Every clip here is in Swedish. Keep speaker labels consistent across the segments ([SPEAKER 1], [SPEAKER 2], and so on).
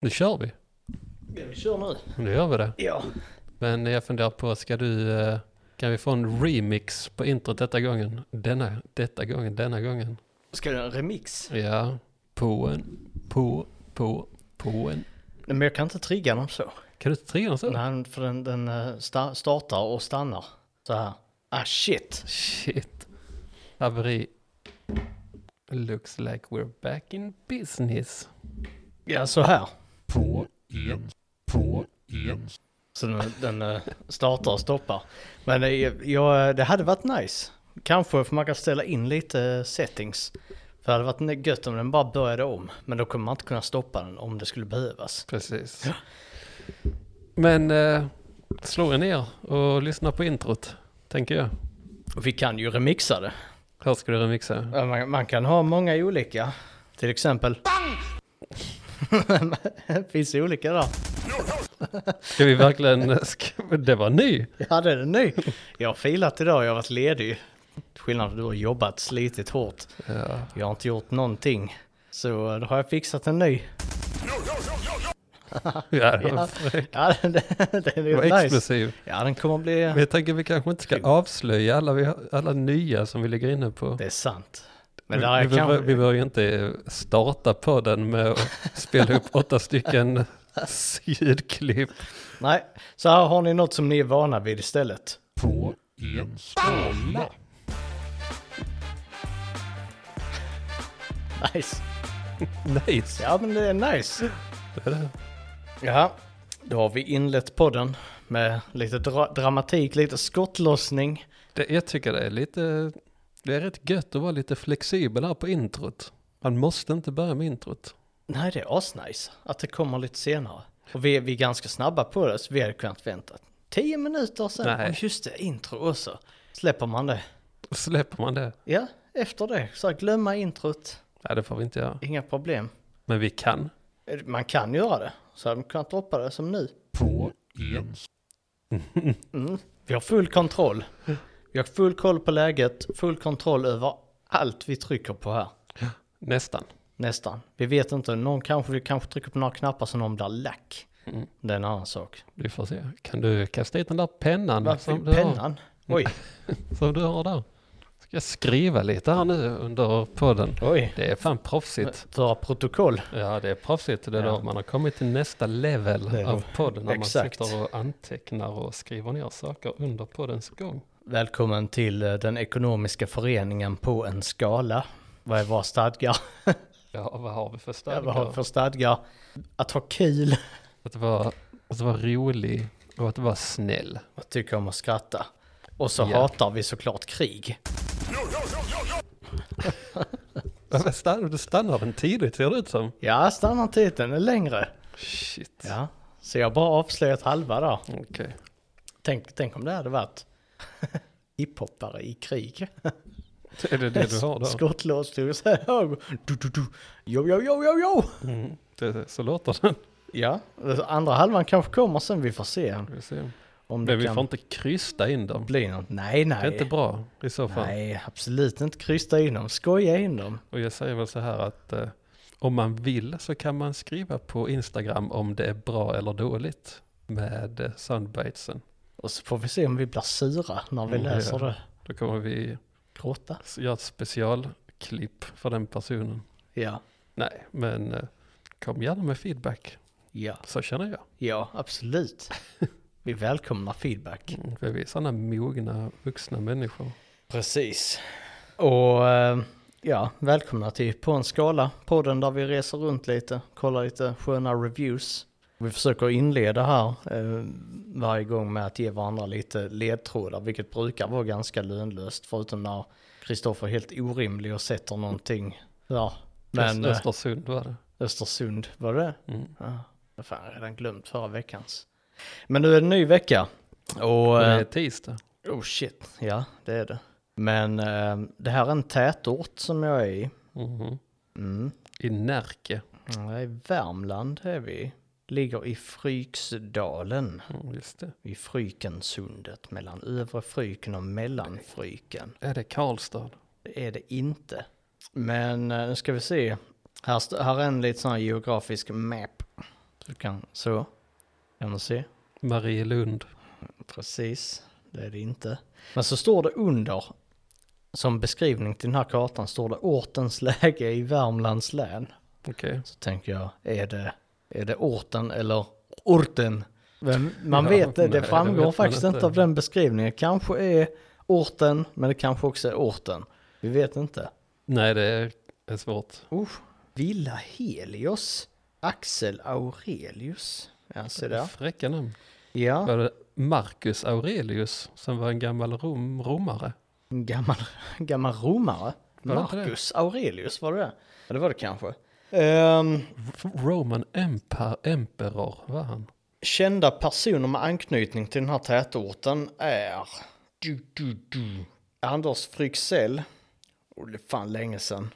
[SPEAKER 1] Nu kör vi.
[SPEAKER 2] Ja, vi kör nu.
[SPEAKER 1] Nu gör vi det.
[SPEAKER 2] Ja.
[SPEAKER 1] Men jag funderar på, ska du, eh, kan vi få en remix på introt detta gången? Denna, detta gången, denna gången.
[SPEAKER 2] Ska du ha en remix?
[SPEAKER 1] Ja, på en, på, på, på en.
[SPEAKER 2] Nej, men jag kan inte trigga dem så.
[SPEAKER 1] Kan du inte trigga den så?
[SPEAKER 2] Nej, för den, den eh, sta- startar och stannar så här. Ah shit.
[SPEAKER 1] Shit. Haveri. Looks like we're back in business.
[SPEAKER 2] Ja, så här.
[SPEAKER 1] På, en, på, en.
[SPEAKER 2] Så den, den eh, startar och stoppar. Men eh, jag, jag, eh, det hade varit nice. Kanske för man kan ställa in lite eh, settings. För det hade varit gött om den bara började om. Men då kommer man inte kunna stoppa den om det skulle behövas.
[SPEAKER 1] Precis. Men eh, slå er ner och lyssna på introt, tänker jag.
[SPEAKER 2] Och vi kan ju remixa det.
[SPEAKER 1] Här ska du remixa.
[SPEAKER 2] Ja, Man, man kan ha många olika. Till exempel... Finns det olika där?
[SPEAKER 1] Ska vi verkligen... Ska, men det var ny!
[SPEAKER 2] Ja, det är den ny. Jag har filat idag, jag har varit ledig. Skillnaden du har jobbat, slitit hårt.
[SPEAKER 1] Ja.
[SPEAKER 2] Jag har inte gjort någonting. Så då har jag fixat en ny.
[SPEAKER 1] Ja, det
[SPEAKER 2] Ja,
[SPEAKER 1] var fräckt.
[SPEAKER 2] ja den, den
[SPEAKER 1] Det var
[SPEAKER 2] är nice.
[SPEAKER 1] explosiv.
[SPEAKER 2] Ja, den kommer bli...
[SPEAKER 1] Men jag tänker vi kanske inte ska avslöja alla, vi, alla nya som vi ligger inne på.
[SPEAKER 2] Det är sant. Men där
[SPEAKER 1] Vi, vi,
[SPEAKER 2] är
[SPEAKER 1] bör- vi
[SPEAKER 2] kanske...
[SPEAKER 1] behöver ju inte starta podden med att spela upp åtta stycken ljudklipp.
[SPEAKER 2] Nej, så här har ni något som ni är vana vid istället.
[SPEAKER 1] På en skala.
[SPEAKER 2] Nice.
[SPEAKER 1] Nice!
[SPEAKER 2] Ja, men det är nice.
[SPEAKER 1] Det är det.
[SPEAKER 2] Ja, då har vi inlett podden med lite dra- dramatik, lite skottlossning.
[SPEAKER 1] Det, jag tycker det är lite... Det är rätt gött att vara lite flexibel här på introt. Man måste inte börja med introt.
[SPEAKER 2] Nej, det är asnice att det kommer lite senare. Och vi, vi är ganska snabba på det, så vi hade kunnat vänta tio minuter sen.
[SPEAKER 1] Nej.
[SPEAKER 2] Och just det, intro också. Släpper man det?
[SPEAKER 1] Släpper man det?
[SPEAKER 2] Ja, efter det. Så här, glömma introt,
[SPEAKER 1] Nej, det får vi inte göra.
[SPEAKER 2] inga problem.
[SPEAKER 1] Men vi kan.
[SPEAKER 2] Eh, Man kan göra det, så hade de kunnat droppa det som nu.
[SPEAKER 1] På en
[SPEAKER 2] Mm. Vi har full kontroll. Vi har full koll på läget, full kontroll över allt vi trycker på här.
[SPEAKER 1] Nästan.
[SPEAKER 2] Nästan. Vi vet inte, någon kanske, vi kanske trycker på några knappar som någon blir lack.
[SPEAKER 1] Mm.
[SPEAKER 2] Det är en annan sak.
[SPEAKER 1] Du får se. Kan du kasta hit den där pennan
[SPEAKER 2] Varför
[SPEAKER 1] som du,
[SPEAKER 2] pennan?
[SPEAKER 1] Mm.
[SPEAKER 2] Oj,
[SPEAKER 1] Har, som du har där? Ska jag skriva lite här nu under podden?
[SPEAKER 2] oj.
[SPEAKER 1] Det är fan proffsigt.
[SPEAKER 2] Föra protokoll.
[SPEAKER 1] Ja, det är proffsigt. Det är
[SPEAKER 2] Ja.
[SPEAKER 1] då man har kommit till nästa level
[SPEAKER 2] Det är-
[SPEAKER 1] av podden. När
[SPEAKER 2] exakt.
[SPEAKER 1] man sitter och antecknar och skriver ner saker under poddens gång.
[SPEAKER 2] Välkommen till eh, den ekonomiska föreningen på en skala. Vad är våra stadgar?
[SPEAKER 1] Ja, vad har vi för
[SPEAKER 2] Ja,
[SPEAKER 1] stadgar?
[SPEAKER 2] Vad har vi för stadgar? Att ha kul.
[SPEAKER 1] Att vara, att vara rolig och att vara snäll.
[SPEAKER 2] Att tycka om att skratta. Och så
[SPEAKER 1] Ja.
[SPEAKER 2] hatar vi såklart krig.
[SPEAKER 1] Varför stannar, du stannar den tidigt ser det ut som.
[SPEAKER 2] Ja, stannar titeln är längre.
[SPEAKER 1] Shit.
[SPEAKER 2] Ja, så jag har bara avslöjat halva där.
[SPEAKER 1] Okej.
[SPEAKER 2] Tänk, tänk om det hade varit hiphoppare i krig.
[SPEAKER 1] Är det det du har då?
[SPEAKER 2] Skottlås till så här. Du, du, du. Jo, jo, jo, jo, jo.
[SPEAKER 1] Mm, det, så låter den.
[SPEAKER 2] Ja, andra halvan kanske kommer sen. Vi får se
[SPEAKER 1] Vi får se.
[SPEAKER 2] om det
[SPEAKER 1] Men vi
[SPEAKER 2] kan
[SPEAKER 1] får inte krysta in dem.
[SPEAKER 2] bli något. Nej,
[SPEAKER 1] Det är inte
[SPEAKER 2] nej.
[SPEAKER 1] bra i så fall.
[SPEAKER 2] Nej, absolut inte krysta in dem. Skoja in dem.
[SPEAKER 1] Och jag säger väl så här att eh, om man vill så kan man skriva på Instagram om det är bra eller dåligt med eh, soundbitesen.
[SPEAKER 2] Och så får vi se om vi blir sura när vi
[SPEAKER 1] Mm, ja.
[SPEAKER 2] läser det.
[SPEAKER 1] Då kommer vi
[SPEAKER 2] Gråta.
[SPEAKER 1] s- göra ett specialklipp för den personen.
[SPEAKER 2] Ja,
[SPEAKER 1] Nej, men eh, kom gärna med feedback.
[SPEAKER 2] ja,
[SPEAKER 1] Så känner jag.
[SPEAKER 2] ja, absolut. Vi välkomnar feedback.
[SPEAKER 1] Mm, För vi är sådana mogna vuxna människor.
[SPEAKER 2] Precis. Och eh, ja, välkomna till På en skala, podden där vi reser runt lite, kollar lite sköna reviews. Vi försöker inleda här eh, varje gång med att ge varandra lite ledtrådar, vilket brukar vara ganska lönlöst, förutom när Kristoffer är helt orimlig och sätter någonting. Ja, men
[SPEAKER 1] Men,
[SPEAKER 2] eh,
[SPEAKER 1] Östersund var det.
[SPEAKER 2] Östersund, var det?
[SPEAKER 1] Mm.
[SPEAKER 2] Ja, vad fan, jag har redan glömt förra veckans. Men nu är det en ny vecka. Och,
[SPEAKER 1] Och det
[SPEAKER 2] eh,
[SPEAKER 1] är tisdag.
[SPEAKER 2] Oh shit, ja det är det. Men eh, det här är en tätort som jag är i.
[SPEAKER 1] Mhm.
[SPEAKER 2] Mm.
[SPEAKER 1] I Närke.
[SPEAKER 2] Jag är I Värmland är vi. Ligger i Fryksdalen.
[SPEAKER 1] Mm, just det.
[SPEAKER 2] I Frykensundet. Mellan Övre Fryken och Mellanfryken.
[SPEAKER 1] Är det Karlstad?
[SPEAKER 2] Det är det inte. Men eh, nu ska vi se. Här, st- här är en lite sån här geografisk map. Du kan så. Kan du se?
[SPEAKER 1] Marielund.
[SPEAKER 2] Precis, det är det inte. Men så står det under, som beskrivning till den här kartan, står det ortens läge i Värmlands län.
[SPEAKER 1] Okej.
[SPEAKER 2] Så tänker jag, är det, är det orten eller orten? Vem, man
[SPEAKER 1] Ja,
[SPEAKER 2] vet det,
[SPEAKER 1] nej,
[SPEAKER 2] det
[SPEAKER 1] det
[SPEAKER 2] framgår
[SPEAKER 1] vet man
[SPEAKER 2] faktiskt inte
[SPEAKER 1] inte.
[SPEAKER 2] av den beskrivningen. Kanske är orten, men det kanske också är orten. Vi vet inte.
[SPEAKER 1] Nej, det är- är svårt.
[SPEAKER 2] Usch. Villa Helios, Axel Aurelius. Ja, se där.
[SPEAKER 1] Fräcka namn.
[SPEAKER 2] Ja,
[SPEAKER 1] Var det Marcus Aurelius som var en gammal rom, romare?
[SPEAKER 2] en gammal, en gammal romare.
[SPEAKER 1] Var det inte det?
[SPEAKER 2] Marcus Aurelius, var det det? Ja, det var det kanske. Ehm,
[SPEAKER 1] F- Roman Empire, Emperor var han.
[SPEAKER 2] Kända personer med anknytning till den här tätorten är du, du, du. Anders Fryxell, och det är fan länge sedan,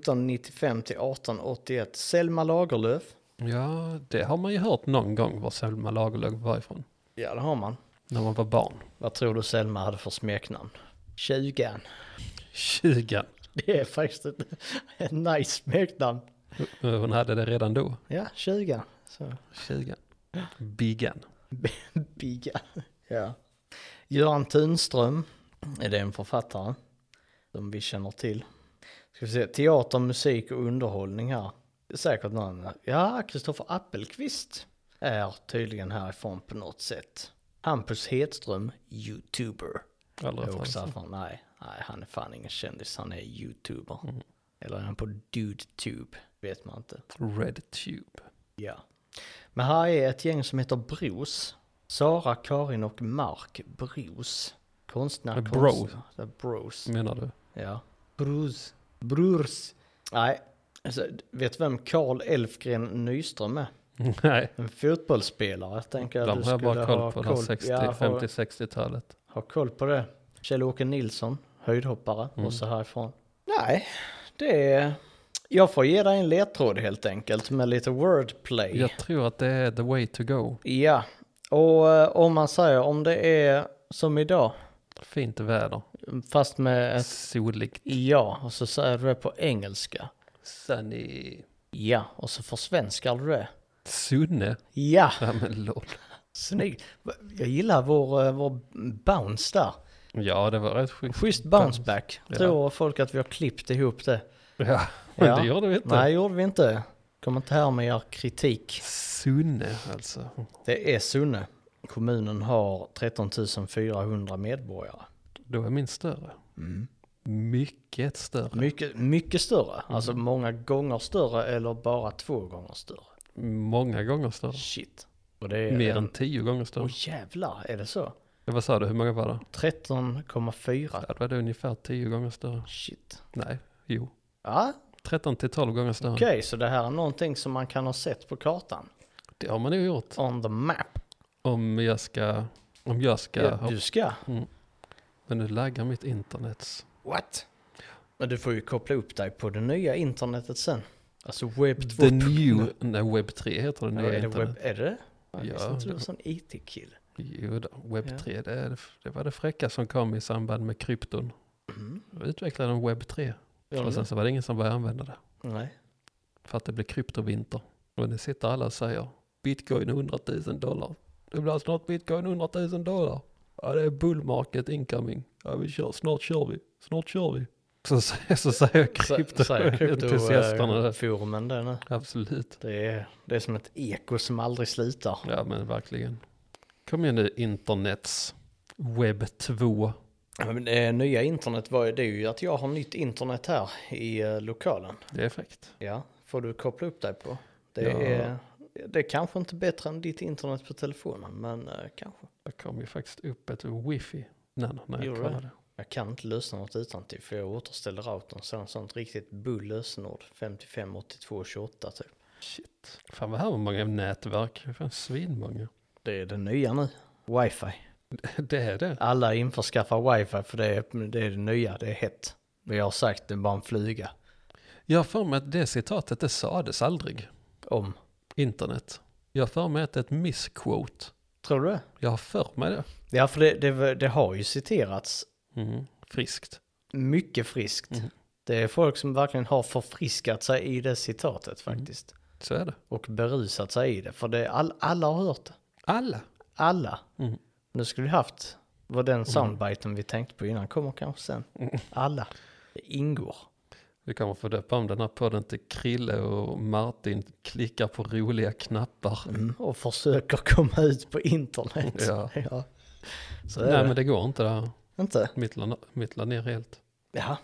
[SPEAKER 2] 1795 till 1881, Selma Lagerlöf,
[SPEAKER 1] Ja, det har man ju hört någon gång var Selma Lagerlöf var ifrån.
[SPEAKER 2] ja det har man.
[SPEAKER 1] När man var barn.
[SPEAKER 2] Vad tror du Selma hade för smeknamn? Tjugan.
[SPEAKER 1] Tjugan.
[SPEAKER 2] Det är faktiskt ett, ett nice smeknamn.
[SPEAKER 1] Eh, Hon hade det redan då.
[SPEAKER 2] Ja, tjugan. Så.
[SPEAKER 1] Tjugan. Biggan.
[SPEAKER 2] Bigga. Ja. Göran Tunström är det en författare som vi känner till. Ska vi se, teater, musik och underhållning här. Det är säkert någon. Ja, Kristoffer Appelqvist är tydligen härifrån på något sätt. Hampus Hedström, youtuber.
[SPEAKER 1] Aldrig
[SPEAKER 2] Jag
[SPEAKER 1] hört
[SPEAKER 2] också
[SPEAKER 1] talas om.
[SPEAKER 2] härifrån. Nej, nej, han är fan ingen kändis, han är youtuber. Eller är han på DudeTube? Vet man inte.
[SPEAKER 1] Red Tube.
[SPEAKER 2] Ja. Men här är ett gäng som heter Bros. Sara, Karin och Mark Bros. Konstnär,
[SPEAKER 1] Eh, Bro.
[SPEAKER 2] konstnär. Det är Bros.
[SPEAKER 1] Menar du?
[SPEAKER 2] Ja. Bros. Brurs. Nej. Alltså, vet du vem Karl Elfgren Nyström är?
[SPEAKER 1] Nej,
[SPEAKER 2] En fotbollsspelare. Jag tänker att du
[SPEAKER 1] de har jag bara
[SPEAKER 2] skulle ha
[SPEAKER 1] koll på.
[SPEAKER 2] koll.
[SPEAKER 1] Det här 60,
[SPEAKER 2] ja, ha,
[SPEAKER 1] 50-60-talet.
[SPEAKER 2] ha koll på det. Kjell-Åke Nilsson, höjdhoppare,
[SPEAKER 1] Mm.
[SPEAKER 2] också härifrån. Nej, det är... Jag får ge dig en ledtråd helt enkelt med lite wordplay.
[SPEAKER 1] Jag tror att det är the way to go.
[SPEAKER 2] Ja, och eh, om man säger om det är som idag,
[SPEAKER 1] Fint väder.
[SPEAKER 2] fast med ett
[SPEAKER 1] Soligt.
[SPEAKER 2] ja, och så säger du det på engelska.
[SPEAKER 1] Sunny.
[SPEAKER 2] Ja, och så försvenskar du det.
[SPEAKER 1] Sunne.
[SPEAKER 2] Ja,
[SPEAKER 1] Ja men lol.
[SPEAKER 2] snyggt. Jag gillar vår, eh, vår bounce där.
[SPEAKER 1] Ja det var rätt sjukt.
[SPEAKER 2] Schysst bounce back.
[SPEAKER 1] Ja.
[SPEAKER 2] Tror folk att vi har klippt ihop det.
[SPEAKER 1] Ja, men
[SPEAKER 2] Ja.
[SPEAKER 1] det gjorde vi inte.
[SPEAKER 2] Nej, gjorde vi inte. Kom inte här med er kritik.
[SPEAKER 1] Sunne alltså.
[SPEAKER 2] Det är Sunne. Kommunen har 13 400 medborgare.
[SPEAKER 1] Då är min större.
[SPEAKER 2] Mm.
[SPEAKER 1] Mycket större.
[SPEAKER 2] Mycket, mycket större. Alltså många gånger större eller bara två gånger större.
[SPEAKER 1] Många gånger större.
[SPEAKER 2] Shit. Och det är
[SPEAKER 1] Mer
[SPEAKER 2] en-
[SPEAKER 1] än tio gånger större.
[SPEAKER 2] Åh jävlar, är det så?
[SPEAKER 1] Vad sa du, hur många var det?
[SPEAKER 2] 13,4.
[SPEAKER 1] Ja, det var det ungefär tio gånger större.
[SPEAKER 2] Shit.
[SPEAKER 1] Nej, jo.
[SPEAKER 2] Ja,
[SPEAKER 1] 13 till 12 gånger större.
[SPEAKER 2] okej, så det här är någonting som man kan ha sett på kartan.
[SPEAKER 1] Det har man ju gjort.
[SPEAKER 2] On the map.
[SPEAKER 1] Om jag ska... Om jag ska...
[SPEAKER 2] Ja, du ska.
[SPEAKER 1] Men nu laggar mitt internet.
[SPEAKER 2] What? Men du får ju koppla upp dig på det nya internetet sen. Alltså webb 2.
[SPEAKER 1] The new... Nej, webb 3 heter det
[SPEAKER 2] Ja,
[SPEAKER 1] nya
[SPEAKER 2] är det
[SPEAKER 1] internet.
[SPEAKER 2] webb, är det? Jag
[SPEAKER 1] Ja,
[SPEAKER 2] visste inte du
[SPEAKER 1] det-
[SPEAKER 2] var en sån IT-kille.
[SPEAKER 1] Jo då,
[SPEAKER 2] Ja.
[SPEAKER 1] webb 3. Det, det var det fräcka som kom i samband med krypton.
[SPEAKER 2] Mm.
[SPEAKER 1] Då utvecklade de webb 3.
[SPEAKER 2] Gör
[SPEAKER 1] Och
[SPEAKER 2] du
[SPEAKER 1] sen så var det ingen som började använda det.
[SPEAKER 2] det? Nej.
[SPEAKER 1] För att det blir kryptovinter. Och nu sitter alla och säger bitcoin 100 000 dollar. Det blir snart bitcoin 100 000 dollar. Ja det är bull market incoming. Ja vi kör, snart kör vi, snart kör vi. Så, så, så säger
[SPEAKER 2] Så- säger eh,
[SPEAKER 1] kryptoentusiasterna det.
[SPEAKER 2] Krypto-forumen det nu.
[SPEAKER 1] Absolut.
[SPEAKER 2] Det är, det är som ett eko som aldrig slutar.
[SPEAKER 1] Ja men verkligen. Kom igen nu internets. Webb 2.
[SPEAKER 2] Ja, Men det nya internet var ju, det är ju att jag har nytt internet här i eh, lokalen.
[SPEAKER 1] Det är fräckt.
[SPEAKER 2] Ja, får du koppla upp dig på. Det
[SPEAKER 1] Ja.
[SPEAKER 2] är, det är kanske inte bättre än ditt internet på telefonen, men eh, kanske.
[SPEAKER 1] Det kom ju faktiskt upp ett wifi. Nej, nej, när jag
[SPEAKER 2] Gjorde
[SPEAKER 1] kollade.
[SPEAKER 2] Jag kan inte lösa något utantill för jag återställer routern sen sånt riktigt bull lösenord 558228 typ.
[SPEAKER 1] Shit. Fan vad här var många nätverk. Fan svinmånga.
[SPEAKER 2] Det är det nya nu. Wifi.
[SPEAKER 1] Det är det.
[SPEAKER 2] Alla införskaffar wifi för det är det, är det nya, det är hett. Men jag har sagt det är bara en flyga.
[SPEAKER 1] Jag har för mig att det citatet det sades aldrig.
[SPEAKER 2] Om.
[SPEAKER 1] Internet. Jag har för mig att det är ett misquote.
[SPEAKER 2] Tror du det?
[SPEAKER 1] Jag har för mig det.
[SPEAKER 2] Ja, för det, det, det har ju citerats
[SPEAKER 1] Mm. Friskt. Mhm.
[SPEAKER 2] mycket friskt. Det är folk som verkligen har förfriskat sig i det citatet faktiskt.
[SPEAKER 1] Så är det.
[SPEAKER 2] och berusat sig i det. För det, all, alla har hört det.
[SPEAKER 1] Alla.
[SPEAKER 2] Alla.
[SPEAKER 1] Mm.
[SPEAKER 2] Nu skulle vi haft vad den soundbiten vi tänkte på innan kommer kanske sen.
[SPEAKER 1] Mm.
[SPEAKER 2] Alla. Det ingår.
[SPEAKER 1] Vi kan få döpa om den här podden till Krille och Martin klickar på roliga knappar.
[SPEAKER 2] Mm. Och försöker komma ut på internet.
[SPEAKER 1] Ja.
[SPEAKER 2] Så är
[SPEAKER 1] Nej
[SPEAKER 2] det.
[SPEAKER 1] men det går inte där.
[SPEAKER 2] Inte?
[SPEAKER 1] Mittla, mittla ner helt.
[SPEAKER 2] Ja,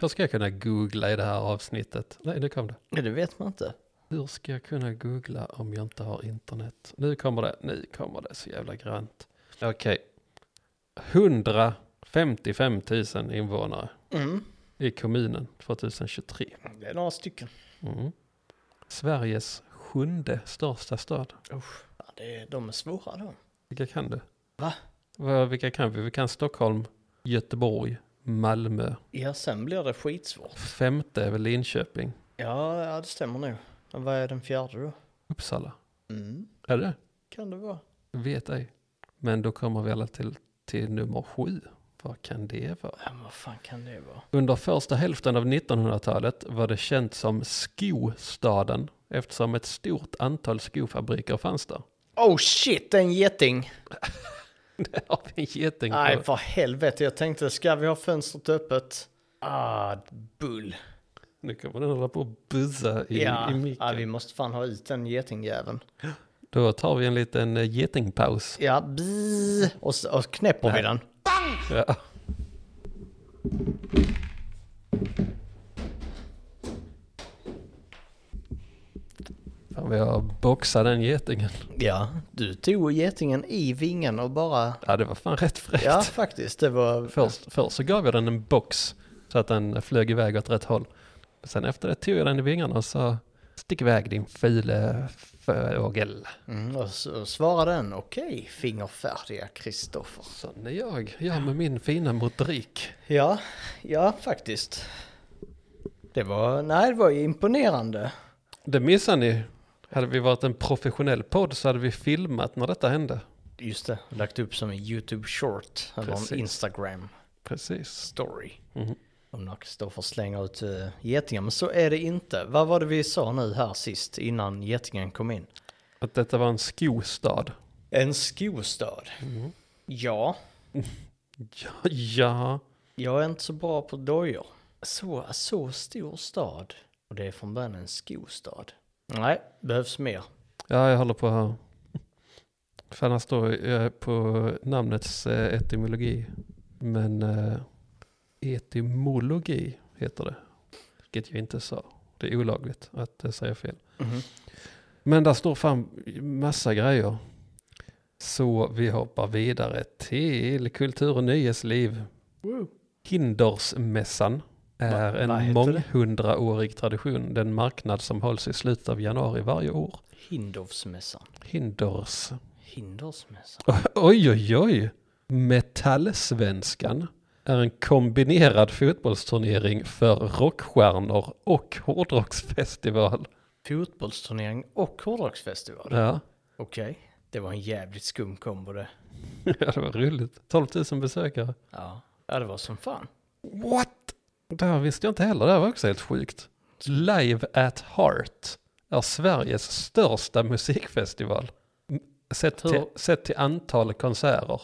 [SPEAKER 1] Hur ska jag kunna googla i det här avsnittet? Nej, nu kom det.
[SPEAKER 2] det vet man inte.
[SPEAKER 1] Hur ska jag kunna googla om jag inte har internet? Nu kommer det, nu kommer det så jävla grönt. Okej. 155 000 invånare
[SPEAKER 2] Mm.
[SPEAKER 1] i kommunen 2023.
[SPEAKER 2] Det är några stycken.
[SPEAKER 1] Mm. Sveriges sjunde största stad.
[SPEAKER 2] Usch. Ja, det är, de är svåra de.
[SPEAKER 1] Vilka kan du?
[SPEAKER 2] Va?
[SPEAKER 1] Va? Vilka kan vi? Vi kan Stockholm, Göteborg, Malmö.
[SPEAKER 2] Ja, sen blir det skitsvårt.
[SPEAKER 1] Femte är väl Linköping,
[SPEAKER 2] Ja, ja det stämmer nog. Men Vad är den fjärde då?
[SPEAKER 1] Uppsala.
[SPEAKER 2] Mm.
[SPEAKER 1] Är det?
[SPEAKER 2] Kan det vara?
[SPEAKER 1] Vet ej. Men då kommer vi alla till, till nummer sju. Vad kan det vara?
[SPEAKER 2] Ja, men vad fan kan det vara?
[SPEAKER 1] Under första hälften av 1900-talet var det känt som skostaden eftersom ett stort antal skofabriker fanns där.
[SPEAKER 2] Oh shit, det är en geting!
[SPEAKER 1] Där har vi en geting
[SPEAKER 2] Nej,
[SPEAKER 1] på.
[SPEAKER 2] för helvete. Jag tänkte, ska vi ha fönstret öppet? Ah, bull.
[SPEAKER 1] Nu kommer den hålla på och buzza i,
[SPEAKER 2] ja,
[SPEAKER 1] i micken.
[SPEAKER 2] ja, vi måste fan ha ut den getingjäveln.
[SPEAKER 1] Då tar vi en liten eh, getingpaus.
[SPEAKER 2] Ja, bi. Och, s- och knäpper vi den.
[SPEAKER 1] Ja. Fan vad jag boxade den getingen.
[SPEAKER 2] Ja, du tog getingen i vingen och bara...
[SPEAKER 1] Ja det var fan rätt fräckt.
[SPEAKER 2] Ja, faktiskt. Det var...
[SPEAKER 1] Först, först så gav jag den en box så att den flög iväg åt rätt håll. Sen efter det tog jag den i vingarna och sa stick iväg din fule fågel.
[SPEAKER 2] Mm, och så svarade den, okej, fingerfärdiga Kristoffer.
[SPEAKER 1] Sån är jag, jag med min fina motorik.
[SPEAKER 2] Ja, ja, faktiskt. Det var, nej, det var ju imponerande.
[SPEAKER 1] Det missar ni. Hade vi varit en professionell podd så hade vi filmat när detta hände.
[SPEAKER 2] Just det, lagt upp som en YouTube short eller
[SPEAKER 1] Precis.
[SPEAKER 2] en Instagram
[SPEAKER 1] Precis.
[SPEAKER 2] story.
[SPEAKER 1] Mhm.
[SPEAKER 2] Om när Kristoffer slänger ut uh, getingar, men så är det inte. Vad var det vi sa nu här sist innan getingen kom in?
[SPEAKER 1] Att detta var en skostad.
[SPEAKER 2] En skostad.
[SPEAKER 1] Mhm.
[SPEAKER 2] Ja,
[SPEAKER 1] Ja, ja.
[SPEAKER 2] jag är inte så bra på dojor. Så, så stor stad. Och det är från början en skostad. Nej, behövs mer.
[SPEAKER 1] ja jag håller på här. För annars står jag på namnets eh, etymologi. Men eh, etymologi heter det. Vilket jag inte sa. Det är olagligt att eh, säga fel.
[SPEAKER 2] Mhm.
[SPEAKER 1] Men där står fan massa grejer. Så vi hoppar vidare till kultur och nyhetsliv. Hindersmässan är
[SPEAKER 2] Va- vad
[SPEAKER 1] en
[SPEAKER 2] heter det?
[SPEAKER 1] månghundraårig tradition. Den marknad som hålls i slutet av januari varje år.
[SPEAKER 2] Hindorfsmässan.
[SPEAKER 1] Hinders.
[SPEAKER 2] Hindersmässan.
[SPEAKER 1] Oj, oj, oj. Metallsvenskan är en kombinerad fotbollsturnering för rockstjärnor och hårdrocksfestival.
[SPEAKER 2] Fotbollsturnering och hårdrocksfestival.
[SPEAKER 1] Ja,
[SPEAKER 2] Okej, det var en jävligt skum kombo det.
[SPEAKER 1] ja det var roligt. 12 000 besökare.
[SPEAKER 2] Ja. ja, det var som fan.
[SPEAKER 1] What? Det här visste jag inte heller, det här var också helt sjukt. Live at Heart är Sveriges största musikfestival. M- Sett till,
[SPEAKER 2] Hur-
[SPEAKER 1] sett till antal konserter.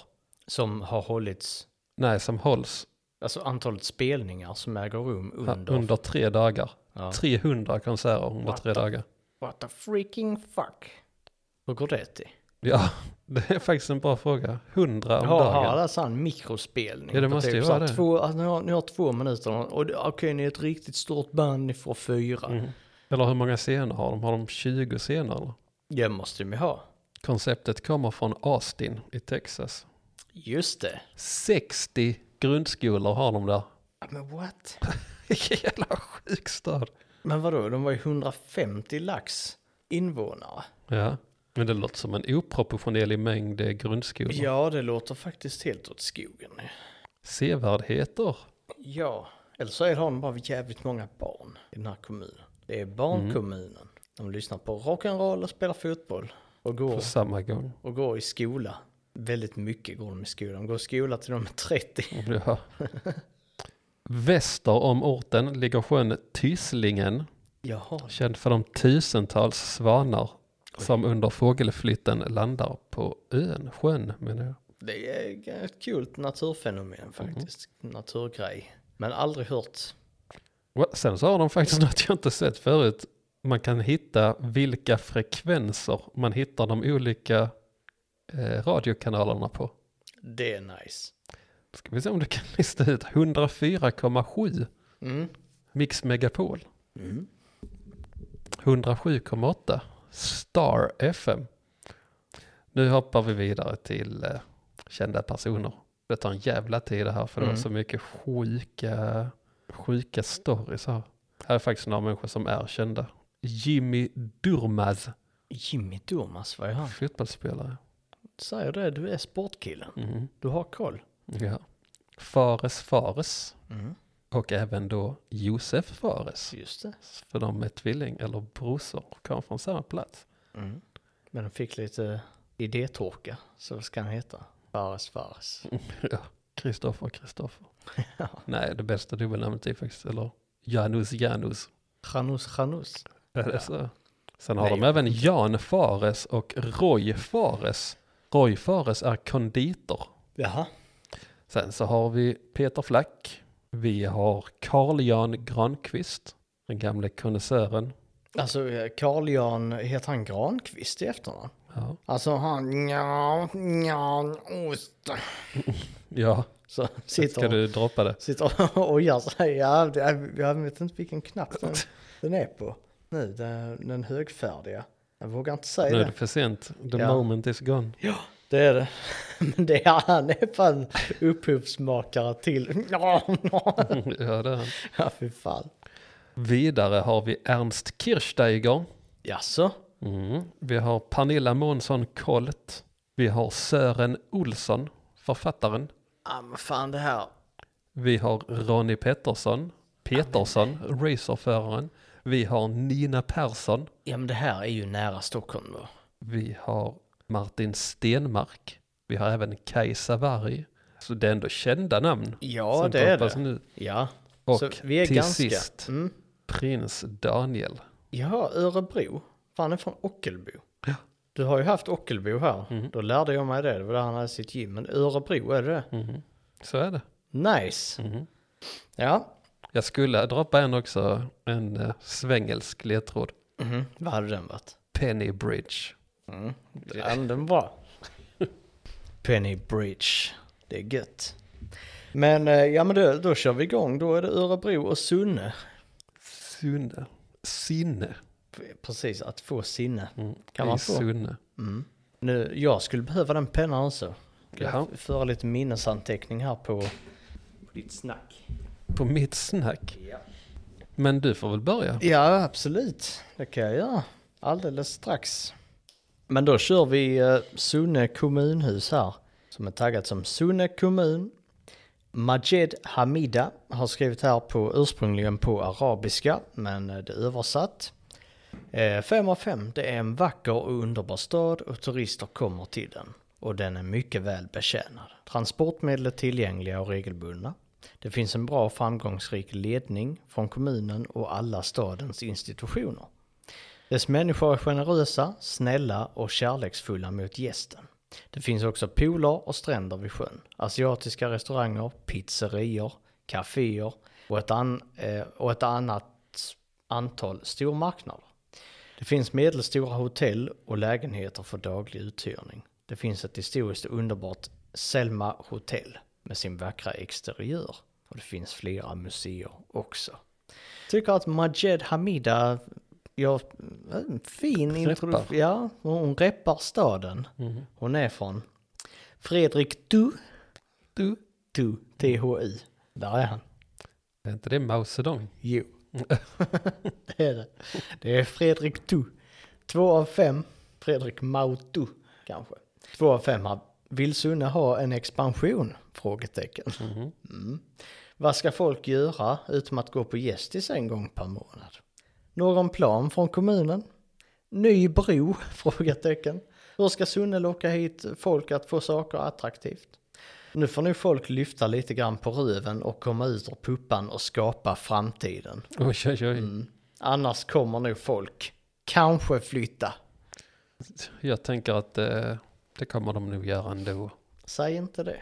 [SPEAKER 2] Som har hållits,
[SPEAKER 1] Nej, som hålls
[SPEAKER 2] alltså antalet spelningar som äger rum
[SPEAKER 1] ja,
[SPEAKER 2] under.
[SPEAKER 1] under tre dagar.
[SPEAKER 2] Ja.
[SPEAKER 1] 300 konserter under tre
[SPEAKER 2] What the-
[SPEAKER 1] dagar.
[SPEAKER 2] What the freaking fuck? Hur går det till?
[SPEAKER 1] Ja, det är faktiskt en bra fråga. 100 om
[SPEAKER 2] Har har
[SPEAKER 1] dagen.
[SPEAKER 2] alla sån mikrospelning?
[SPEAKER 1] Ja, det
[SPEAKER 2] på
[SPEAKER 1] måste ju
[SPEAKER 2] så
[SPEAKER 1] vara
[SPEAKER 2] här
[SPEAKER 1] det.
[SPEAKER 2] Två, alltså, ni, har, ni har två minuter och det- okej, ni är ett riktigt stort band, ni får fyra.
[SPEAKER 1] Mm. Eller hur många scener har de? Har de 20 scener? Eller?
[SPEAKER 2] Det måste de ju ha.
[SPEAKER 1] Konceptet kommer från Austin i Texas.
[SPEAKER 2] Just det.
[SPEAKER 1] 60 grundskolor har de där.
[SPEAKER 2] Ja, Men what?
[SPEAKER 1] Vilken jävla sjuk stad.
[SPEAKER 2] Men vadå, de var ju 150 lax invånare.
[SPEAKER 1] Ja, men det låter som en oproportionerlig mängd eh, grundskolor.
[SPEAKER 2] Ja, det låter faktiskt helt åt skogen.
[SPEAKER 1] Sevärdheter.
[SPEAKER 2] Ja, eller så är- har de bara jävligt många barn i den här kommunen. Det är barnkommunen. De lyssnar på rock'n'roll och spelar fotboll. Och
[SPEAKER 1] På
[SPEAKER 2] går,
[SPEAKER 1] samma gång.
[SPEAKER 2] och går i skola. Väldigt mycket går de i skolan. De går i skola till de är 30.
[SPEAKER 1] Ja. Väster om orten ligger sjön Tyslingen
[SPEAKER 2] Jaha.
[SPEAKER 1] Känd för de tusentals svanar som under fågelflytten landar på ön, sjön menar jag.
[SPEAKER 2] Det är ett kul naturfenomen faktiskt. Naturgrej. Men aldrig hört.
[SPEAKER 1] Och Sen så har de faktiskt något jag inte sett förut. Man kan hitta vilka frekvenser man hittar de olika eh, radiokanalerna på.
[SPEAKER 2] Det är nice.
[SPEAKER 1] Ska vi se om du kan lista ut 104,7
[SPEAKER 2] Mm.
[SPEAKER 1] Mix Megapol,
[SPEAKER 2] Mm.
[SPEAKER 1] 107,8 Star FM. Nu hoppar vi vidare till eh, kända personer. Det tar en jävla tid det här för det var
[SPEAKER 2] Mm.
[SPEAKER 1] så mycket sjuka, sjuka stories här. Här är faktiskt några människor som är kända. Jimmy Durmaz,
[SPEAKER 2] Jimmy Durmaz, vad är han?
[SPEAKER 1] fotbollsspelare.
[SPEAKER 2] Säger det, du är sportkillen.
[SPEAKER 1] Mhm.
[SPEAKER 2] Du har koll.
[SPEAKER 1] Ja. Fares Fares
[SPEAKER 2] Mm.
[SPEAKER 1] och även då Josef Fares.
[SPEAKER 2] Just det.
[SPEAKER 1] För de är tvilling eller brorsor och kommer från samma plats.
[SPEAKER 2] Mm. Men de fick lite idétorka, så vad ska han heta? Fares Fares.
[SPEAKER 1] Ja, Kristoffer, Kristoffer. Nej, det bästa dubbelnamnet är faktiskt, eller Janus Janus.
[SPEAKER 2] Chanus Chanus.
[SPEAKER 1] Är det
[SPEAKER 2] Ja.
[SPEAKER 1] så? Sen har
[SPEAKER 2] Nej,
[SPEAKER 1] de
[SPEAKER 2] jag
[SPEAKER 1] även Jan Fares och Roy Fares. Roy Fares är konditor.
[SPEAKER 2] Jaha.
[SPEAKER 1] Sen så har vi Peter Flack. Vi har Carl-Jan Granqvist, den gamle konnässören.
[SPEAKER 2] Alltså eh, Carl Jan, heter han Granqvist i efternamn?
[SPEAKER 1] Ja.
[SPEAKER 2] Alltså han, ja, ja, ost.
[SPEAKER 1] ja,
[SPEAKER 2] Så
[SPEAKER 1] ska
[SPEAKER 2] sitter,
[SPEAKER 1] du droppa det?
[SPEAKER 2] sitter och ojar sig. Ja, det är- jag vet inte vilken knapp den, den är på. Nu, den, den högfärdiga. Jag vågar inte säga
[SPEAKER 1] Nu är
[SPEAKER 2] det.
[SPEAKER 1] det för sent. The
[SPEAKER 2] Ja.
[SPEAKER 1] moment is gone.
[SPEAKER 2] Ja, det är det. Men det är han är fan upphovsmakare till. Ja, ja.
[SPEAKER 1] ja, det är han.
[SPEAKER 2] ja fy fan.
[SPEAKER 1] Vidare har vi Ernst Kirchsteiger.
[SPEAKER 2] Jaså?
[SPEAKER 1] Mm. Vi har Pernilla Månsson Kolt. Vi har Sören Olsson, författaren.
[SPEAKER 2] Ja, men fan det här.
[SPEAKER 1] Vi har Ronny Pettersson, Petersson, racerföraren. Vi har Nina Persson.
[SPEAKER 2] Ja, men det här är ju nära Stockholm då.
[SPEAKER 1] Vi har Martin Stenmark. Vi har även Kajsa Warg. Så det är ändå kända namn.
[SPEAKER 2] Ja,
[SPEAKER 1] som
[SPEAKER 2] det är
[SPEAKER 1] droppas
[SPEAKER 2] det.
[SPEAKER 1] Nu.
[SPEAKER 2] Ja,
[SPEAKER 1] Och
[SPEAKER 2] så vi är
[SPEAKER 1] till
[SPEAKER 2] ganska.
[SPEAKER 1] sist,
[SPEAKER 2] Mm.
[SPEAKER 1] prins Daniel.
[SPEAKER 2] Ja, Örebro. Han är från Ockelbo. Du har ju haft Ockelbo här. Då lärde jag mig det. Det var där han hade sitt gym. Men Örebro är det.
[SPEAKER 1] Mhm. Så är det.
[SPEAKER 2] Nice.
[SPEAKER 1] Mhm.
[SPEAKER 2] Ja.
[SPEAKER 1] Jag skulle droppa en också, en eh, svängelsk ledtråd.
[SPEAKER 2] Mhm. Vad hade den varit?
[SPEAKER 1] Penny Bridge.
[SPEAKER 2] Mm. Den var. Penny Bridge. Det är gött. Men eh, ja, men då, då kör vi igång. Då är det Örebro och Sunne.
[SPEAKER 1] Sunne. Sinne.
[SPEAKER 2] Precis, att få sinne. Kan
[SPEAKER 1] I
[SPEAKER 2] man få.
[SPEAKER 1] Sunne.
[SPEAKER 2] Mm. Nu, jag skulle behöva den pennan också. Ska
[SPEAKER 1] Jaha.
[SPEAKER 2] Jag f- föra lite minnesanteckning här på, på ditt snack.
[SPEAKER 1] På mitt snack.
[SPEAKER 2] Ja.
[SPEAKER 1] Men du får väl börja.
[SPEAKER 2] ja, absolut. Det kan jag göra. Alldeles strax. Men då kör vi eh, Sunne kommunhus här. Som är taggat som Sunne kommun. Majed Hamida har skrivit här på ursprungligen på arabiska men eh, det är översatt. 5 Eh, av 5, det är en vacker och underbar stad och turister kommer till den. Och den är mycket väl betjänad. Transportmedel är tillgängliga och regelbundna. Det finns en bra och framgångsrik ledning från kommunen och alla stadens institutioner. Dess människor är generösa, snälla och kärleksfulla mot gästen. Det finns också pooler och stränder vid sjön, asiatiska restauranger, pizzerior, kaféer och ett, an, eh, och ett annat antal stormarknader. Det finns medelstora hotell och lägenheter för daglig uthyrning. Det finns ett historiskt underbart Selma hotell med sin vackra exteriör. Och det finns flera museer också. Tycker att Majed Hamida, ja, en fin
[SPEAKER 1] Reppar.
[SPEAKER 2] introduktion. Ja, hon reppar staden. Hon är från Fredrik Du,
[SPEAKER 1] Du.
[SPEAKER 2] Du, THI. Där är han.
[SPEAKER 1] Är inte det Mao Zedong?
[SPEAKER 2] Jo. det är det. Det är Fredrik Tu. Två av fem. Fredrik Mautu, kanske. Två av fem. här. Vill Sunne ha en expansion? Frågetecken. Mm. Vad ska folk göra utom att gå på gästis en gång per månad? Någon plan från kommunen? Ny bro? Frågetecken. Hur ska Sunne locka hit folk att få saker attraktivt? Nu får nu folk lyfta lite grann på röven och komma ut ur puppan och skapa framtiden.
[SPEAKER 1] Oj, oj, oj.
[SPEAKER 2] Annars kommer nog folk kanske flytta.
[SPEAKER 1] Jag tänker att eh, det kommer de nog göra ändå.
[SPEAKER 2] Säg inte det.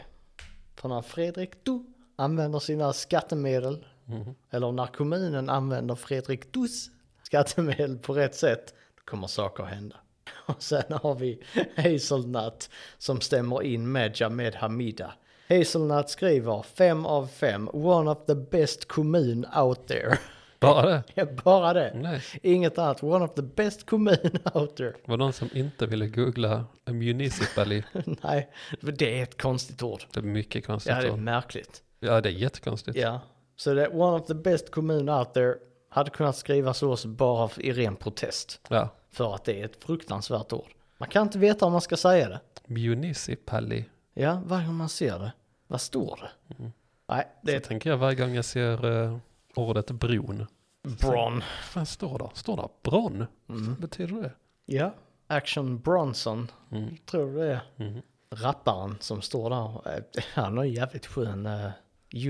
[SPEAKER 2] För när Fredrik Du använder sina skattemedel,
[SPEAKER 1] Mhm.
[SPEAKER 2] eller när kommunen använder Fredrik Dus skattemedel på rätt sätt, då kommer saker hända. Och sen har vi Hazelnut som stämmer in med Jamed Hamida. Hazelnut skriver 5 av 5, one of the best kommun out there.
[SPEAKER 1] Bara det?
[SPEAKER 2] Bara det,
[SPEAKER 1] Nej.
[SPEAKER 2] inget annat. One of the best kommun out there.
[SPEAKER 1] Det var någon som inte ville googla a municipally.
[SPEAKER 2] Nej, det är ett konstigt ord.
[SPEAKER 1] Det är mycket konstigt.
[SPEAKER 2] Ja, det är
[SPEAKER 1] ord.
[SPEAKER 2] märkligt.
[SPEAKER 1] ja, det är jättekonstigt.
[SPEAKER 2] Ja, så det är one of the best kommun out there. Hade kunnat skriva så också bara i ren protest.
[SPEAKER 1] Ja.
[SPEAKER 2] För att det är ett fruktansvärt ord. Man kan inte veta om man ska säga det.
[SPEAKER 1] Municipally.
[SPEAKER 2] Ja, varje gång man ser det. Vad står det? Nej, det är
[SPEAKER 1] Så tänker jag varje gång jag ser eh, ordet bron.
[SPEAKER 2] Bron.
[SPEAKER 1] Vad fan står det? Står det bron?
[SPEAKER 2] Mm.
[SPEAKER 1] Vad betyder det?
[SPEAKER 2] Ja, Action Bronson.
[SPEAKER 1] Mm.
[SPEAKER 2] Tror du det är.
[SPEAKER 1] Mm.
[SPEAKER 2] Rapparen som står där. eh, Han har en jävligt skön eh,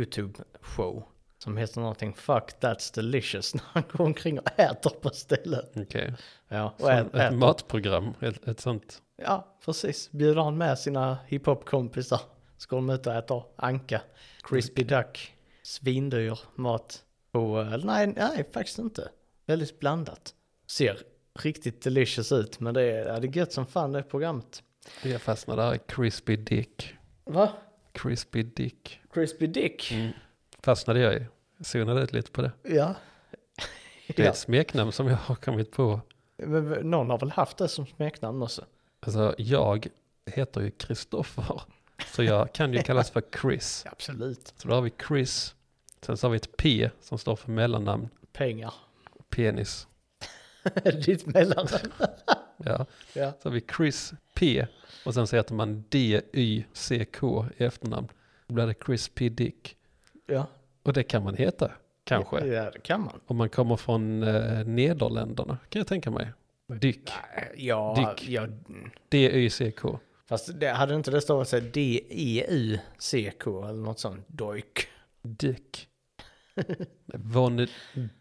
[SPEAKER 2] YouTube-show. Som heter någonting Fuck That's Delicious. När han går omkring och äter på stället.
[SPEAKER 1] Okej.
[SPEAKER 2] Ja, och
[SPEAKER 1] Som
[SPEAKER 2] ä-
[SPEAKER 1] Ett
[SPEAKER 2] äter.
[SPEAKER 1] matprogram. Ett, ett sånt.
[SPEAKER 2] Ja, precis. Bjuder han med sina hiphop-kompisar. Ska de ut och äta anka, crispy duck, svindyr mat. Och eh, nej, nej, faktiskt inte. Väldigt blandat. Ser riktigt delicious ut, men det är, ja, det är gött som fan det programmet.
[SPEAKER 1] Jag fastnade där i crispy dick.
[SPEAKER 2] Va?
[SPEAKER 1] Crispy dick.
[SPEAKER 2] Crispy dick?
[SPEAKER 1] Fastnade jag i. Jag zonade ut lite på det.
[SPEAKER 2] Ja.
[SPEAKER 1] Det är
[SPEAKER 2] ja.
[SPEAKER 1] ett smeknamn som jag har kommit på.
[SPEAKER 2] Men v- någon har väl haft det som smeknamn också?
[SPEAKER 1] Alltså jag heter ju Kristoffer. Så jag kan ju kallas för Chris.
[SPEAKER 2] Absolut.
[SPEAKER 1] Så då har vi Chris. Sen så har vi ett P som står för mellannamn.
[SPEAKER 2] Pengar.
[SPEAKER 1] Penis.
[SPEAKER 2] Ditt mellanrum.
[SPEAKER 1] Ja.
[SPEAKER 2] Ja.
[SPEAKER 1] Så har vi Chris P. Och sen så heter man D-Y-C-K i efternamn. Då blir det Chris P. Dick.
[SPEAKER 2] ja.
[SPEAKER 1] Och det kan man heta. Kanske.
[SPEAKER 2] Ja, det kan man.
[SPEAKER 1] Om man kommer från eh, Nederländerna. Kan jag tänka mig. Dick.
[SPEAKER 2] Ja,
[SPEAKER 1] Dick.
[SPEAKER 2] ja,
[SPEAKER 1] D-Y-C-K.
[SPEAKER 2] Fast det, hade inte det stavat sig E D-E-U-C-K eller något sånt? Dojk.
[SPEAKER 1] Dick. Von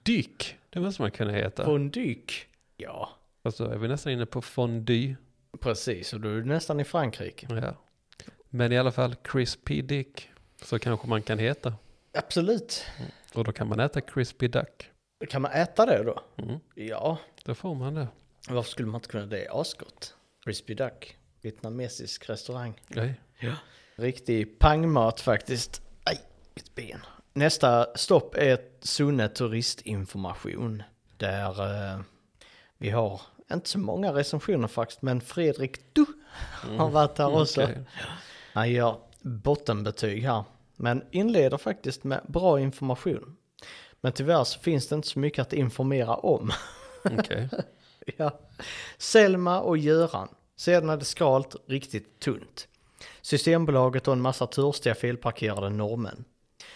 [SPEAKER 1] Dyck. Det måste man kunna heta.
[SPEAKER 2] Von Dyk. Ja,
[SPEAKER 1] Fast då är vi nästan inne på fondue.
[SPEAKER 2] precis. Och då är du nästan i Frankrike.
[SPEAKER 1] Ja. Men i alla fall Crispy Dick. Så kanske man kan heta.
[SPEAKER 2] Absolut.
[SPEAKER 1] Och då kan man äta Crispy Duck.
[SPEAKER 2] Kan man äta det då?
[SPEAKER 1] Mm.
[SPEAKER 2] Ja.
[SPEAKER 1] Då får man det.
[SPEAKER 2] Varför skulle man inte kunna det? Asgott. Crispy Duck. Vietnamesisk restaurang.
[SPEAKER 1] Nej.
[SPEAKER 2] Riktig pangmat faktiskt. Aj, mitt ben. Nästa stopp är Sunne turistinformation. Där eh, vi har inte så många recensioner faktiskt, men Fredrik Du har varit här också.
[SPEAKER 1] Mm, Okej.
[SPEAKER 2] Han gör bottenbetyg här, men inleder faktiskt med bra information. Men tyvärr så finns det inte så mycket att informera om.
[SPEAKER 1] Okej.
[SPEAKER 2] Ja. Selma och Göran. Sedan är det skralt, riktigt tunt. Systembolaget och en massa törstiga felparkerade norrmän.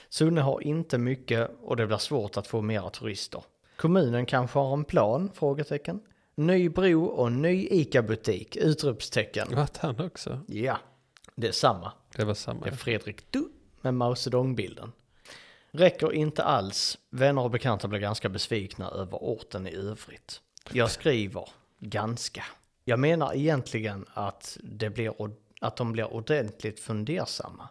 [SPEAKER 2] Sunne har inte mycket och det blir svårt att få mera turister. Kommunen kanske har en plan? Frågetecken. Ny bro och ny ICA-butik? Utropstecken.
[SPEAKER 1] Vart han också?
[SPEAKER 2] Ja, det är samma.
[SPEAKER 1] Det var samma.
[SPEAKER 2] Det är Fredrik Du med Mao Zedong-bilden. Räcker inte alls. Vänner och bekanta blir ganska besvikna över orten i övrigt. Jag skriver ganska. Jag menar egentligen att, det blir, ord- att de blir ordentligt fundersamma.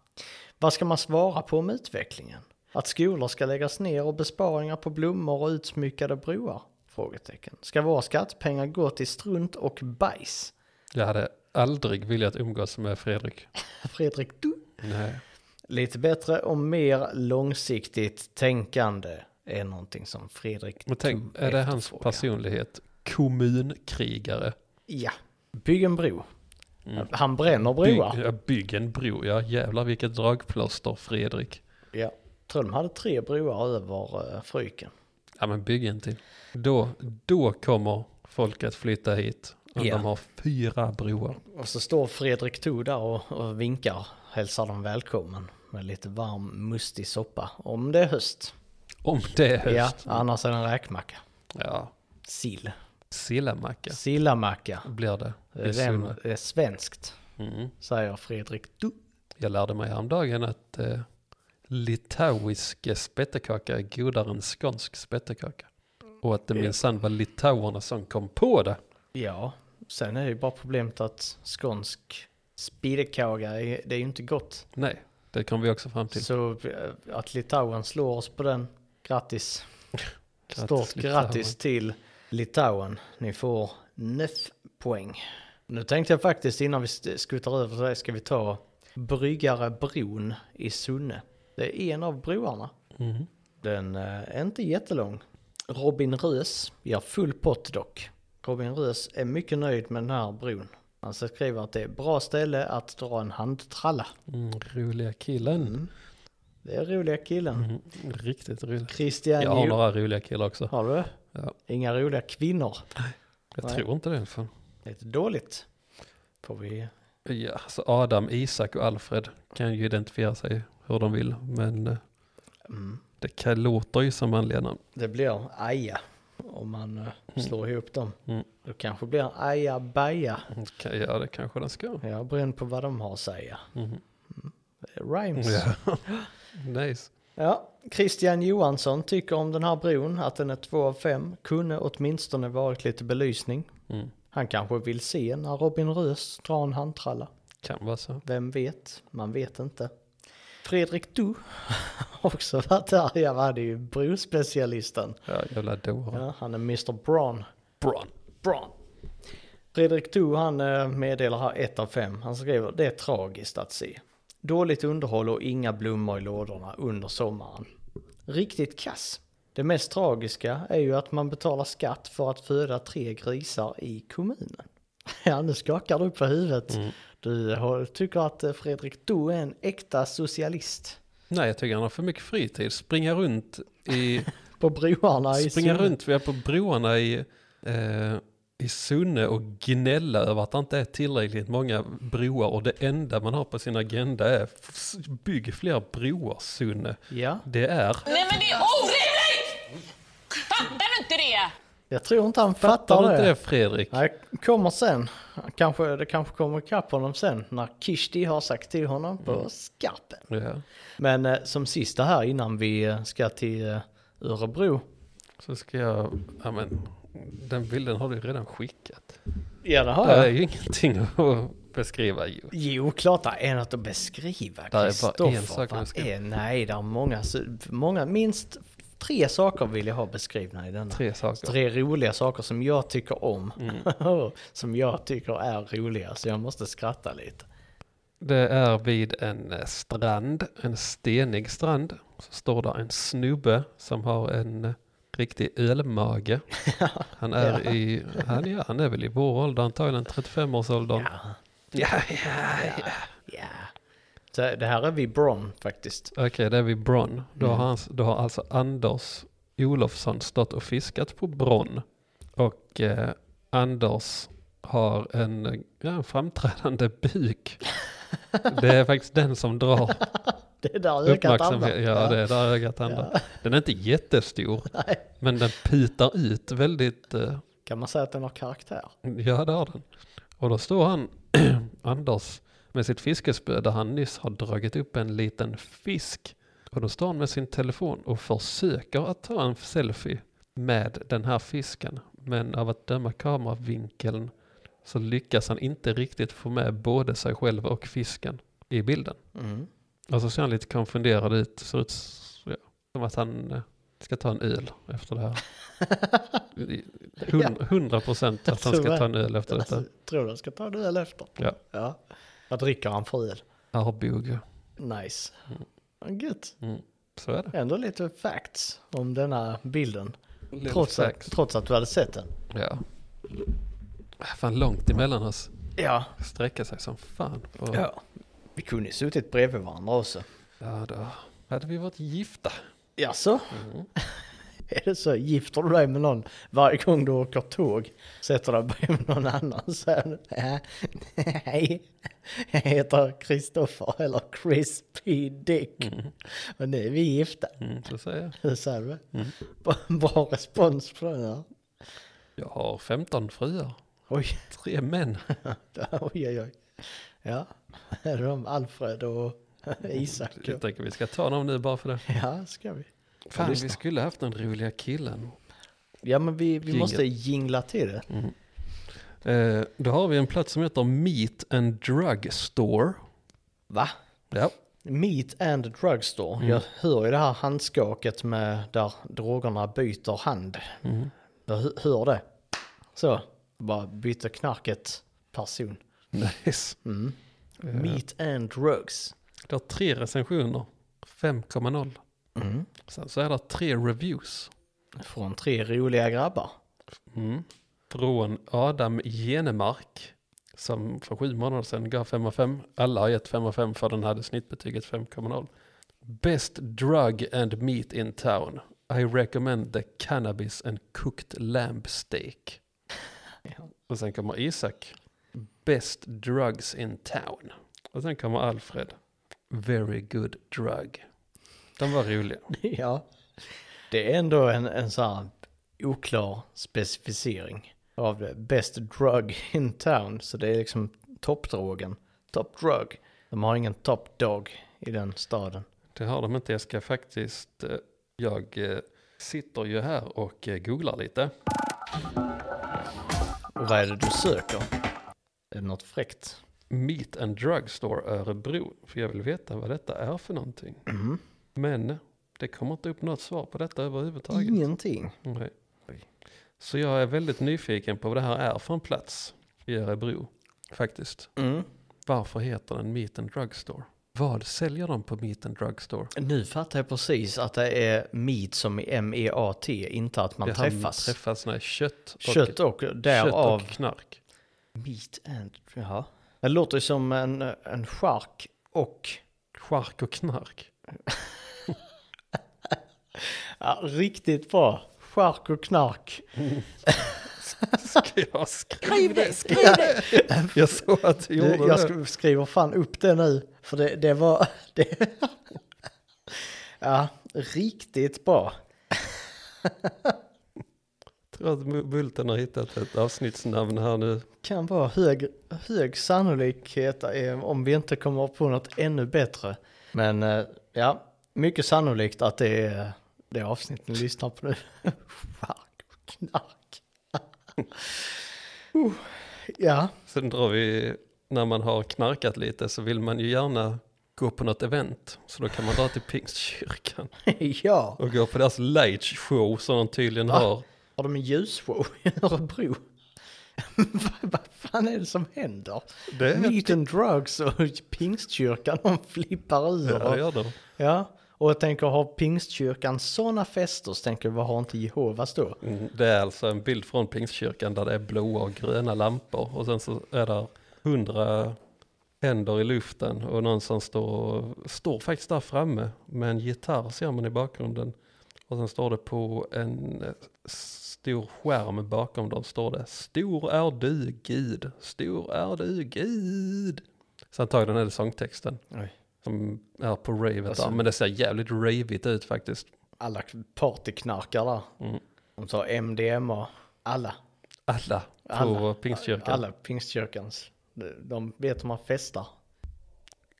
[SPEAKER 2] Vad ska man svara på om utvecklingen? Att skolor ska läggas ner och besparingar på blommor och utsmyckade broar? Frågetecken. Ska våra skattepengar gå till strunt och bajs?
[SPEAKER 1] Jag hade aldrig velat umgås med Fredrik.
[SPEAKER 2] Fredrik, du
[SPEAKER 1] Nej.
[SPEAKER 2] Lite bättre och mer långsiktigt tänkande är någonting som Fredrik
[SPEAKER 1] Men tänk,
[SPEAKER 2] Thun
[SPEAKER 1] är det hans
[SPEAKER 2] efterfrågar.
[SPEAKER 1] personlighet? Kommunkrigare.
[SPEAKER 2] Ja, bygg en bro. Han bränner broar.
[SPEAKER 1] Bygg, ja, bygg en bro, ja jävlar vilket dragplåster Fredrik.
[SPEAKER 2] Ja. Tror de hade tre broar över uh, Fryken.
[SPEAKER 1] Ja men bygg en till. Då, då kommer folk att flytta hit. Om
[SPEAKER 2] Ja.
[SPEAKER 1] de har fyra broar.
[SPEAKER 2] Och så står Fredrik Thun där och, och vinkar, hälsar dem välkommen med lite varm mustig soppa. Om det är höst.
[SPEAKER 1] Om det är
[SPEAKER 2] Ja,
[SPEAKER 1] höst.
[SPEAKER 2] annars är det en räkmacka.
[SPEAKER 1] Ja.
[SPEAKER 2] Sill.
[SPEAKER 1] Sillamacka
[SPEAKER 2] Sillamacka.
[SPEAKER 1] blir det.
[SPEAKER 2] Det är
[SPEAKER 1] i
[SPEAKER 2] den-
[SPEAKER 1] Sunne.
[SPEAKER 2] det är svenskt,
[SPEAKER 1] Mm.
[SPEAKER 2] säger Fredrik Thun.
[SPEAKER 1] Jag lärde mig häromdagen att eh, litauisk spettekaka är godare än skånsk spettekaka. Och att det
[SPEAKER 2] Ja.
[SPEAKER 1] minsann var litauerna som kom på det.
[SPEAKER 2] Ja, sen är det ju bara problemet att skånsk spidekaga, är- det är ju inte gott.
[SPEAKER 1] Nej, det kom vi också fram till.
[SPEAKER 2] Så eh, att Litauen slår oss på den, grattis.
[SPEAKER 1] Grattis,
[SPEAKER 2] Stort
[SPEAKER 1] Litauen.
[SPEAKER 2] grattis till Litauen. Ni får 9 poäng. Nu tänkte jag faktiskt innan vi st- skuttar över till det ska vi ta Bryggarebron i Sunne. Det är en av broarna.
[SPEAKER 1] Mhm.
[SPEAKER 2] Den eh, är inte jättelång. Robin Rös gör full pott dock. Robin Rös är mycket nöjd med den här bron. Han skriver att det är ett bra ställe att dra en handtralla.
[SPEAKER 1] Mm, roliga killen.
[SPEAKER 2] Det är roliga killen.
[SPEAKER 1] Mhm. Riktigt rolig.
[SPEAKER 2] Christian
[SPEAKER 1] Jag har
[SPEAKER 2] Jo-
[SPEAKER 1] några roliga killar också.
[SPEAKER 2] Har du?
[SPEAKER 1] Ja.
[SPEAKER 2] Inga roliga kvinnor.
[SPEAKER 1] Jag
[SPEAKER 2] Nej.
[SPEAKER 1] tror inte det. För...
[SPEAKER 2] Det är dåligt. Får vi...
[SPEAKER 1] Ja, alltså Adam, Isak och Alfred kan ju identifiera sig hur de vill. Men eh,
[SPEAKER 2] Mm.
[SPEAKER 1] det kan, låter ju som manliga namn.
[SPEAKER 2] Det blir aja om man eh, slår ihop dem.
[SPEAKER 1] Mm.
[SPEAKER 2] Då kanske blir en aja baja.
[SPEAKER 1] Kan- Ja, det kanske den ska.
[SPEAKER 2] Jag beroende på vad de har att säga.
[SPEAKER 1] Mhm.
[SPEAKER 2] Det är Rhymes.
[SPEAKER 1] Ja. nice.
[SPEAKER 2] Ja, Christian Johansson tycker om den här bron att den är 2 av 5. Kunde åtminstone varit lite belysning.
[SPEAKER 1] Mm.
[SPEAKER 2] Han kanske vill se när Robin Rös drar en handtralla.
[SPEAKER 1] Kan vara så.
[SPEAKER 2] Vem vet? Man vet inte. Fredrik Du har också varit där. Jag var ju brospecialisten.
[SPEAKER 1] Ja, jävla dåre.
[SPEAKER 2] Ja, han är Mr. Braun.
[SPEAKER 1] Bron.
[SPEAKER 2] Braun. Fredrik Du han eh, meddelar här 1 av 5. Han skriver det är tragiskt att se. Dåligt underhåll och inga blommor i lådorna under sommaren. Riktigt kass. Det mest tragiska är ju att man betalar skatt för att föda tre grisar i kommunen. Ja, nu skakar du på huvudet.
[SPEAKER 1] Mm.
[SPEAKER 2] Du har- tycker att eh, Fredrik Du är en äkta socialist.
[SPEAKER 1] Nej, jag tycker han har för mycket fritid. Springa runt i,
[SPEAKER 2] På broarna i
[SPEAKER 1] springa
[SPEAKER 2] Sunne.
[SPEAKER 1] runt vi är på broarna i, eh, i Sunne och gnälla över att det inte är tillräckligt många broar och det enda man har på sin agenda är f- bygg fler broar Sunne.
[SPEAKER 2] Ja,
[SPEAKER 1] Det är,
[SPEAKER 3] Nej men det är orimligt! Fattar du inte det?
[SPEAKER 2] jag tror inte han
[SPEAKER 1] tar du
[SPEAKER 2] fattar
[SPEAKER 1] inte det Fredrik?
[SPEAKER 2] Nej, kommer sen. Kanske, det kanske kommer ikapp honom sen när Kishti har sagt till honom på
[SPEAKER 1] Mm.
[SPEAKER 2] skarpen.
[SPEAKER 1] Ja.
[SPEAKER 2] Men eh, som sista här innan vi eh, ska till eh, Örebro.
[SPEAKER 1] Så ska jag, ja men den bilden har du redan skickat.
[SPEAKER 2] Ja det har
[SPEAKER 1] Det är
[SPEAKER 2] jag.
[SPEAKER 1] ju ingenting att beskriva ju.
[SPEAKER 2] Jo, klart det är något att beskriva.
[SPEAKER 1] är bara en
[SPEAKER 2] Kristoffer,
[SPEAKER 1] sak att
[SPEAKER 2] vad
[SPEAKER 1] beskriva.
[SPEAKER 2] är- Nej, det är många, så- många, minst tre saker vill jag ha beskrivna i denna.
[SPEAKER 1] Tre saker. Mm.
[SPEAKER 2] Tre roliga saker som jag tycker om. som jag tycker är roliga, så jag måste skratta lite.
[SPEAKER 1] Det är vid en eh, strand, en stenig strand. Så står där en snubbe som har en eh, riktig ölmage. Han är, i, han, ja, han är väl i vår ålder, antagligen 35-årsåldern.
[SPEAKER 2] Ja.
[SPEAKER 1] Ja, ja, ja.
[SPEAKER 2] Ja. Det, det här är vi Brom faktiskt.
[SPEAKER 1] Okej, det är vid Bron. Då, har hans, då har alltså Anders Olofsson stått och fiskat på Bron. Och eh, Anders har en, eh, ja, en framträdande buk. Det är faktiskt den som drar
[SPEAKER 2] Det är där ökat andra.
[SPEAKER 1] Uppmärksamhet, ja det är där ögat handlar. Den är inte jättestor,
[SPEAKER 2] Nej.
[SPEAKER 1] men den pitar ut väldigt, eh,
[SPEAKER 2] Kan man säga att den har karaktär?
[SPEAKER 1] ja det har den. Och då står han, Anders, med sitt fiskespö där han nyss har dragit upp en liten fisk. Och då står han med sin telefon och försöker att ta en selfie med den här fisken. Men av att döma kameravinkeln så lyckas han inte riktigt få med både sig själv och fisken i bilden.
[SPEAKER 2] Mm.
[SPEAKER 1] Och så ser han lite konfunderad ut. Ser ut s- ja, som att han eh, ska ta en öl efter det här. Hun- Hundra procent att han ska ta en öl efter detta.
[SPEAKER 2] Tror du jag ska ta det eller efter?
[SPEAKER 1] Ja.
[SPEAKER 2] ja. Vad dricker han för öl?
[SPEAKER 1] Arboga.
[SPEAKER 2] Nice. Mm. Gött.
[SPEAKER 1] Mm. Så är det.
[SPEAKER 2] Ändå lite facts om denna bilden.
[SPEAKER 1] Little
[SPEAKER 2] Trots att,
[SPEAKER 1] facts.
[SPEAKER 2] trots att du hade sett den.
[SPEAKER 1] Ja. Äh, Fan långt emellan oss.
[SPEAKER 2] Ja.
[SPEAKER 1] Sträcka sig som fan. Och, ja.
[SPEAKER 2] ja. Vi kunde ju suttit bredvid varandra också.
[SPEAKER 1] då hade vi varit gifta.
[SPEAKER 2] Jaså? Mm. Är det så? Gifter du dig med någon varje gång du åker tåg? Sätter dig bredvid någon annan? Säger du, "Nä, nej, jag heter Kristoffer eller Crispy Dick. Och nu är vi gifta.
[SPEAKER 1] Mm, så säger jag.
[SPEAKER 2] Hur säger du? Bra, bra respons på den här.
[SPEAKER 1] jag har 15 fruar.
[SPEAKER 2] Oj,
[SPEAKER 1] Tre män.
[SPEAKER 2] oj, oj, oj. Ja, det är de Alfred och Isak.
[SPEAKER 1] Jag tänker vi ska ta dem nu bara för det.
[SPEAKER 2] Ja, ska vi.
[SPEAKER 1] Fan, vi skulle haft den roliga killen.
[SPEAKER 2] Ja men vi, vi
[SPEAKER 1] Jingle.
[SPEAKER 2] måste jingla till det.
[SPEAKER 1] Eh, då har vi en plats som heter Meat and Drug Store.
[SPEAKER 2] Va?
[SPEAKER 1] Ja.
[SPEAKER 2] Meat and Drugstore. Jag hör ju det här handskaket med där drogerna byter hand. Jag hö- hör det. Så, bara byter knarket person.
[SPEAKER 1] Nice.
[SPEAKER 2] Meat and Drugs.
[SPEAKER 1] Det har tre recensioner. 5,0. Sen så är det tre reviews.
[SPEAKER 2] Från tre roliga grabbar.
[SPEAKER 1] Mm. Från Adam Genemark. Som för sju månader sedan gav 5 av 5. Alla har gett 5 av 5 för den hade snittbetyget 5,0. Best drug and meat in town. I recommend the cannabis and cooked lamb steak. Och sen kommer Isak. Best drugs in town. Och sen kommer Alfred. Very good drug. De var roliga.
[SPEAKER 2] ja. Det är ändå en, en sån här oklar specificering av det. best drug in town. Så det är liksom toppdrogen. Top drug. De har ingen top dog i den staden.
[SPEAKER 1] Det har de inte. Jag ska faktiskt... eh, Jag eh, sitter ju här och eh, googlar lite.
[SPEAKER 2] Och vad är det du söker? Är det något fräckt?
[SPEAKER 1] Meat and Drugstore Örebro. För jag vill veta vad detta är för någonting.
[SPEAKER 2] Mm-hmm.
[SPEAKER 1] Men det kommer inte upp något svar på detta överhuvudtaget.
[SPEAKER 2] Ingenting.
[SPEAKER 1] Nej. Så jag är väldigt nyfiken på vad det här är för en plats i Örebro. Faktiskt.
[SPEAKER 2] Mm.
[SPEAKER 1] Varför heter den Meat and Drugstore? Vad säljer de på Meat and Drugstore?
[SPEAKER 2] Nu fattar jag precis att det är meat som i M-E-A-T, inte att man
[SPEAKER 1] Det här
[SPEAKER 2] träffas.
[SPEAKER 1] träffas när kött och,
[SPEAKER 2] Kött och därav
[SPEAKER 1] kött och knark.
[SPEAKER 2] meat and... Jaha. Det låter ju som en, en shark och...
[SPEAKER 1] Chark och knark.
[SPEAKER 2] Ja, riktigt bra. Shark och knark.
[SPEAKER 1] Ska jag skriva?
[SPEAKER 3] Skriv det, skriv det!
[SPEAKER 1] Jag såg att du gjorde
[SPEAKER 2] Du, jag
[SPEAKER 1] det.
[SPEAKER 2] sk- skriver fan upp det nu, för det, det var... Det... Ja, riktigt bra.
[SPEAKER 1] tror att Bu- Bulten har hittat ett avsnittsnamn här nu.
[SPEAKER 2] kan vara hög, hög sannolikhet eh, om vi inte kommer på något ännu bättre. Men eh, ja, mycket sannolikt att det är det avsnitt ni lyssnar på nu. Shark och knark. Uh, ja,
[SPEAKER 1] Sen drar vi, när man har knarkat lite så vill man ju gärna gå på något event. Så då kan man dra till Pingstkyrkan
[SPEAKER 2] ja.
[SPEAKER 1] och gå på deras light show som de tydligen har.
[SPEAKER 2] Har de en ljusshow i Örebro? Vad- Vad fan är det som händer?
[SPEAKER 1] Det är-
[SPEAKER 2] Meat and drugs och pingstkyrkan, de flippar ur.
[SPEAKER 1] Ja, det gör de.
[SPEAKER 2] Ja, och jag tänker har pingstkyrkan sådana fester så tänker jag vad har inte Jehovas då?
[SPEAKER 1] Mm, Det är alltså en bild från Pingstkyrkan där det är blåa och gröna lampor och sen så är det hundra händer i luften och någon som står, står faktiskt där framme med en gitarr ser man i bakgrunden. Och sen står det på en eh, stor skärm bakom dem står det Stor är du Gud, stor är du Gud. Så antagligen är det sångtexten
[SPEAKER 2] Oj.
[SPEAKER 1] som är på ravet
[SPEAKER 2] Alltså-
[SPEAKER 1] där. Men det ser jävligt ravigt ut faktiskt.
[SPEAKER 2] Alla partyknarkar där. De tar MDMA. Alla.
[SPEAKER 1] Alla på
[SPEAKER 2] Alla.
[SPEAKER 1] Pingstkyrkan.
[SPEAKER 2] Alla pingstkyrkans. De- De vet hur man festar.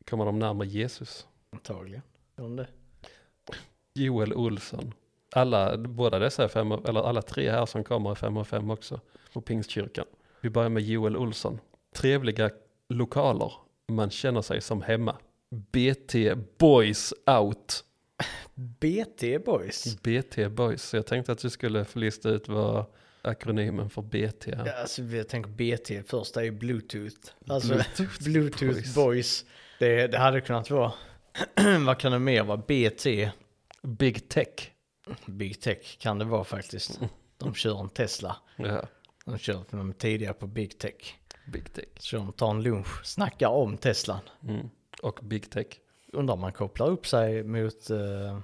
[SPEAKER 1] kommer de närmare Jesus.
[SPEAKER 2] Antagligen. Gör de det?
[SPEAKER 1] Joel Olsson. Alla, båda dessa är fem, av- eller alla tre här som kommer är fem och fem också på Pingstkyrkan. Vi börjar med Joel Olsson. Trevliga lokaler, man känner sig som hemma. BT Boys Out.
[SPEAKER 2] BT
[SPEAKER 1] Mm.
[SPEAKER 2] Boys.
[SPEAKER 1] BT Boys, så jag tänkte att du skulle få lista ut vad akronymen för BT är.
[SPEAKER 2] Ja, Alltså jag tänker BT först, det är ju Bluetooth. Alltså
[SPEAKER 1] Bluetooth
[SPEAKER 2] Bluetooth, Boys. Det, det hade kunnat vara. Vad kan det mer vara? BT.
[SPEAKER 1] Big Tech.
[SPEAKER 2] Big Tech kan det vara faktiskt. De kör en Tesla.
[SPEAKER 1] Ja,
[SPEAKER 2] De kör för de är tidiga på Big Tech.
[SPEAKER 1] Big Tech.
[SPEAKER 2] Så de tar en lunch, snackar om Teslan.
[SPEAKER 1] Mm. Och Big Tech.
[SPEAKER 2] Undrar om man kopplar upp sig mot eh,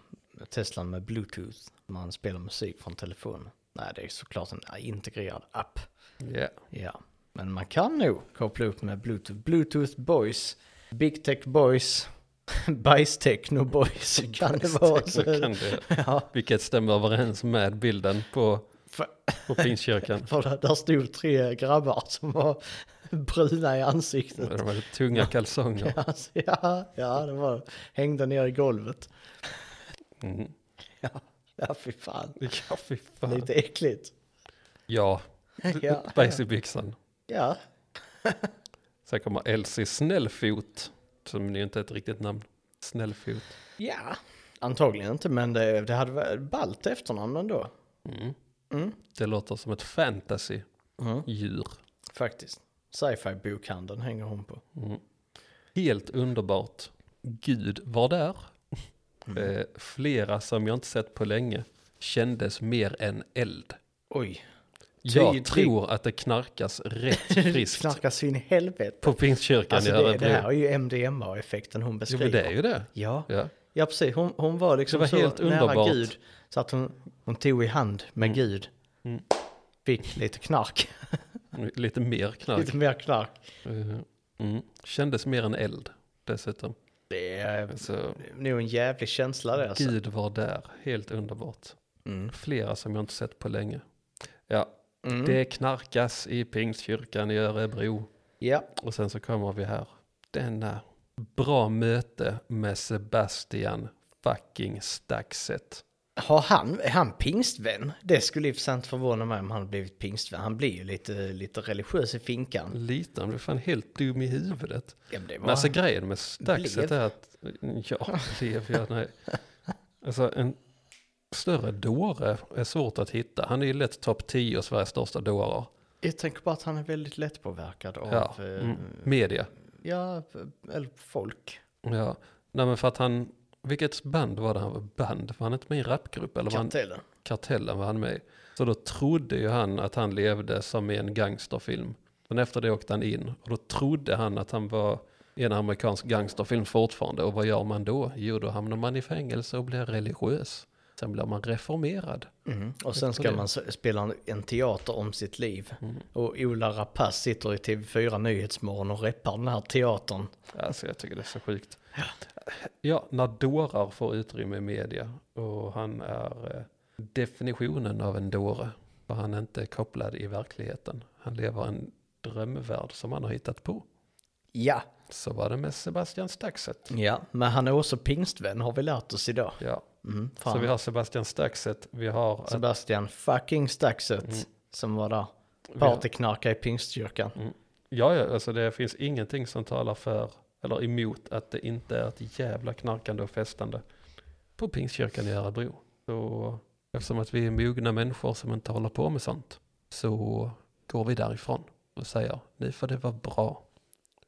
[SPEAKER 2] Teslan med Bluetooth. Man spelar musik från telefonen. Nej, det är såklart en integrerad app.
[SPEAKER 1] Ja.
[SPEAKER 2] Ja, men man kan nog koppla upp med Bluetooth. Bluetooth Boys, Big Tech Boys, Bajstechno Boys kan det vara. Så,
[SPEAKER 1] Kan det,
[SPEAKER 2] ja,
[SPEAKER 1] vilket stämmer överens med bilden på,
[SPEAKER 2] för,
[SPEAKER 1] på Pingstkyrkan.
[SPEAKER 2] för där, där stod tre grabbar som var bruna i ansiktet.
[SPEAKER 1] De hade tunga kalsonger.
[SPEAKER 2] Ja, alltså, ja, ja det var det. Hängde ner i golvet.
[SPEAKER 1] Mhm.
[SPEAKER 2] Ja. Ja, fy fan.
[SPEAKER 1] Ja, fy fan.
[SPEAKER 2] Lite äckligt.
[SPEAKER 1] Ja,
[SPEAKER 2] Ja,
[SPEAKER 1] Basic-byxan.
[SPEAKER 2] ja.
[SPEAKER 1] Sen kommer Elsie Snällfot, som ju inte är ett riktigt namn. Snällfot.
[SPEAKER 2] ja. antagligen inte, men det, det hade varit ballt efternamn ändå.
[SPEAKER 1] Mm.
[SPEAKER 2] Mm.
[SPEAKER 1] Det låter som ett fantasy-djur.
[SPEAKER 2] Mm. Faktiskt. Sci-fi-bokhandeln hänger hon på.
[SPEAKER 1] Mm. Helt underbart. Gud var där.
[SPEAKER 2] Mm.
[SPEAKER 1] Eh, flera som jag inte sett på länge kändes mer än eld.
[SPEAKER 2] Oj, Tio
[SPEAKER 1] Jag
[SPEAKER 2] tre-
[SPEAKER 1] tror att det knarkas rätt friskt
[SPEAKER 2] knarkas in i helvete.
[SPEAKER 1] på pingstkyrkan
[SPEAKER 2] Alltså
[SPEAKER 1] i
[SPEAKER 2] det, det
[SPEAKER 1] Örebro.
[SPEAKER 2] här är ju MDMA-effekten hon
[SPEAKER 1] Jo men
[SPEAKER 2] beskriver.
[SPEAKER 1] det är ju det.
[SPEAKER 2] Ja,
[SPEAKER 1] Ja.
[SPEAKER 2] ja precis. Hon, hon var liksom
[SPEAKER 1] Det var
[SPEAKER 2] så
[SPEAKER 1] helt
[SPEAKER 2] nära
[SPEAKER 1] underbart.
[SPEAKER 2] Gud så att hon, hon tog i hand med Gud.
[SPEAKER 1] Mm.
[SPEAKER 2] Fick lite knark,
[SPEAKER 1] Lite mer knark.
[SPEAKER 2] lite mer knark.
[SPEAKER 1] Eh, Mm. Kändes mer än eld dessutom.
[SPEAKER 2] Det är eh,
[SPEAKER 1] Så,
[SPEAKER 2] nog en jävlig känsla det alltså.
[SPEAKER 1] Gud var där, helt underbart.
[SPEAKER 2] Mm.
[SPEAKER 1] Flera som jag inte sett på länge. Ja,
[SPEAKER 2] Mm.
[SPEAKER 1] det knarkas i pingstkyrkan i Örebro.
[SPEAKER 2] Ja,
[SPEAKER 1] Och sen så kommer vi här. Denna bra möte med Sebastian fucking Staxet.
[SPEAKER 2] Har han, är han pingstvän? Det skulle i och för sig inte förvåna mig om han har blivit pingstvän. Han blir ju lite, lite religiös i finkan.
[SPEAKER 1] Lite, han blev fan helt dum i huvudet.
[SPEAKER 2] Ja, men det var
[SPEAKER 1] Mm. Men alltså grejen med Staxet
[SPEAKER 2] Blev.
[SPEAKER 1] är att, ja, blev jag, nej. Alltså en större dåre är svårt att hitta. Han är ju lätt topp 10 av Sveriges största dårar.
[SPEAKER 2] Jag tänker bara att han är väldigt lättpåverkad av... eh,
[SPEAKER 1] Ja,
[SPEAKER 2] Ja,
[SPEAKER 1] mm. media.
[SPEAKER 2] ja eller folk.
[SPEAKER 1] Ja, nej men för att han, vilket band var det han var band? Var han inte med i en rapgrupp eller var han,
[SPEAKER 2] Kartellen.
[SPEAKER 1] kartellen var han med i? Så då trodde ju han att han levde som i en gangsterfilm. Men efter det åkte han in och då trodde han att han var i en amerikansk gangsterfilm fortfarande. Och vad gör man då? Jo, då hamnar man i fängelse och blir religiös. Sen blir man reformerad.
[SPEAKER 2] Mm. Och sen ska
[SPEAKER 1] det.
[SPEAKER 2] man s- spela en- en teater om sitt liv.
[SPEAKER 1] Mm.
[SPEAKER 2] Och Ola Rapace sitter i TV4 Nyhetsmorgon och reppar den här teatern.
[SPEAKER 1] Alltså jag tycker det är så sjukt. Ja, när dårar får utrymme i media och han är eh, definitionen av en dåre. För han är inte kopplad i verkligheten. Han lever en drömvärld som han har hittat på.
[SPEAKER 2] Ja.
[SPEAKER 1] Så var det med Sebastian Staxet.
[SPEAKER 2] Ja, men han är också pingstvän har vi lärt oss idag.
[SPEAKER 1] Ja,
[SPEAKER 2] Mm,
[SPEAKER 1] så
[SPEAKER 2] fan.
[SPEAKER 1] vi har Sebastian Staxet, vi har... eh,
[SPEAKER 2] Sebastian fucking Staxet
[SPEAKER 1] Mm.
[SPEAKER 2] som var där. Partyknarkare i pingstkyrkan.
[SPEAKER 1] Ja, ja, alltså det finns ingenting som talar för eller emot att det inte är ett jävla knarkande och festande på Pingstkyrkan i Örebro. Så eftersom att vi är mogna människor som inte håller på med sånt så går vi därifrån och säger nu får det vara bra.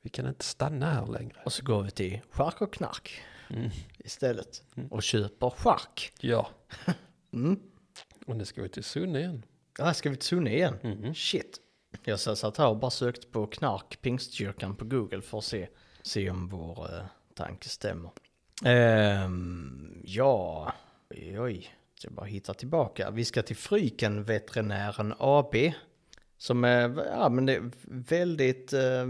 [SPEAKER 1] Vi kan inte stanna här längre.
[SPEAKER 2] Och så går vi till Chark och Knark
[SPEAKER 1] Mm.
[SPEAKER 2] istället. Och köper chark.
[SPEAKER 1] Ja,
[SPEAKER 2] Mm.
[SPEAKER 1] och nu ska vi till Sunne igen.
[SPEAKER 2] Här ska vi till Sunne igen.
[SPEAKER 1] Mhm.
[SPEAKER 2] Shit. Jag så- satt här och bara sökte på knark pingstkyrkan på Google för att se, se om vår eh, tanke stämmer. Ehm, ja, oj, oj. Ska bara hitta tillbaka. Vi ska till Fryken Veterinären AB. Som är, ja, men det är väldigt eh,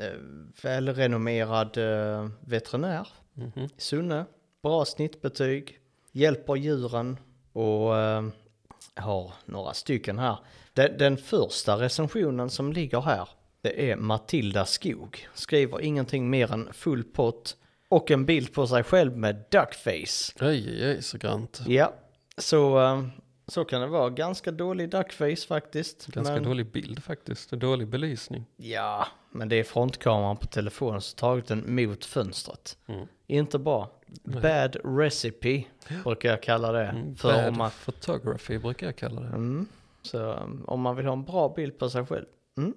[SPEAKER 2] eh, välrenommerad eh, veterinär.
[SPEAKER 1] Mhm.
[SPEAKER 2] Sunne, bra snittbetyg, hjälper djuren och eh, har några stycken här. Den, den första recensionen som ligger här, det är Matilda Skog. Skriver ingenting mer än full pott och en bild på sig själv med duckface.
[SPEAKER 1] Oj, oj, oj, så grant.
[SPEAKER 2] Ja, så, eh, så kan det vara. Ganska dålig duckface faktiskt.
[SPEAKER 1] Ganska
[SPEAKER 2] men,
[SPEAKER 1] dålig bild faktiskt, dålig belysning.
[SPEAKER 2] Ja, men det är frontkameran på telefonen som tagit den mot fönstret.
[SPEAKER 1] Mm.
[SPEAKER 2] Inte bra. Bad recipe brukar jag kalla det. för om
[SPEAKER 1] Mm, Bad
[SPEAKER 2] man,
[SPEAKER 1] photography brukar jag kalla det.
[SPEAKER 2] mm, så um, om man vill ha en bra bild på sig själv. Mm.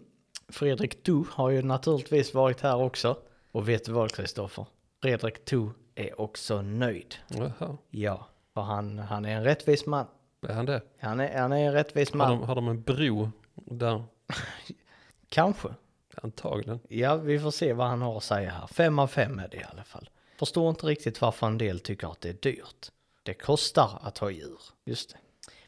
[SPEAKER 2] Fredrik Du har ju naturligtvis varit här också. Och vet du vad Kristoffer? Fredrik Du är också nöjd.
[SPEAKER 1] Jaha,
[SPEAKER 2] Ja, för han, han är en rättvis man.
[SPEAKER 1] är han det?
[SPEAKER 2] Han är, han är en rättvis
[SPEAKER 1] Har
[SPEAKER 2] man.
[SPEAKER 1] de, har de en bro där?
[SPEAKER 2] Kanske.
[SPEAKER 1] Antagligen.
[SPEAKER 2] Ja, vi får se vad han har att säga här. Fem av fem är det i alla fall. Förstår inte riktigt varför en del tycker att det är dyrt. Det kostar att ha djur. Just det.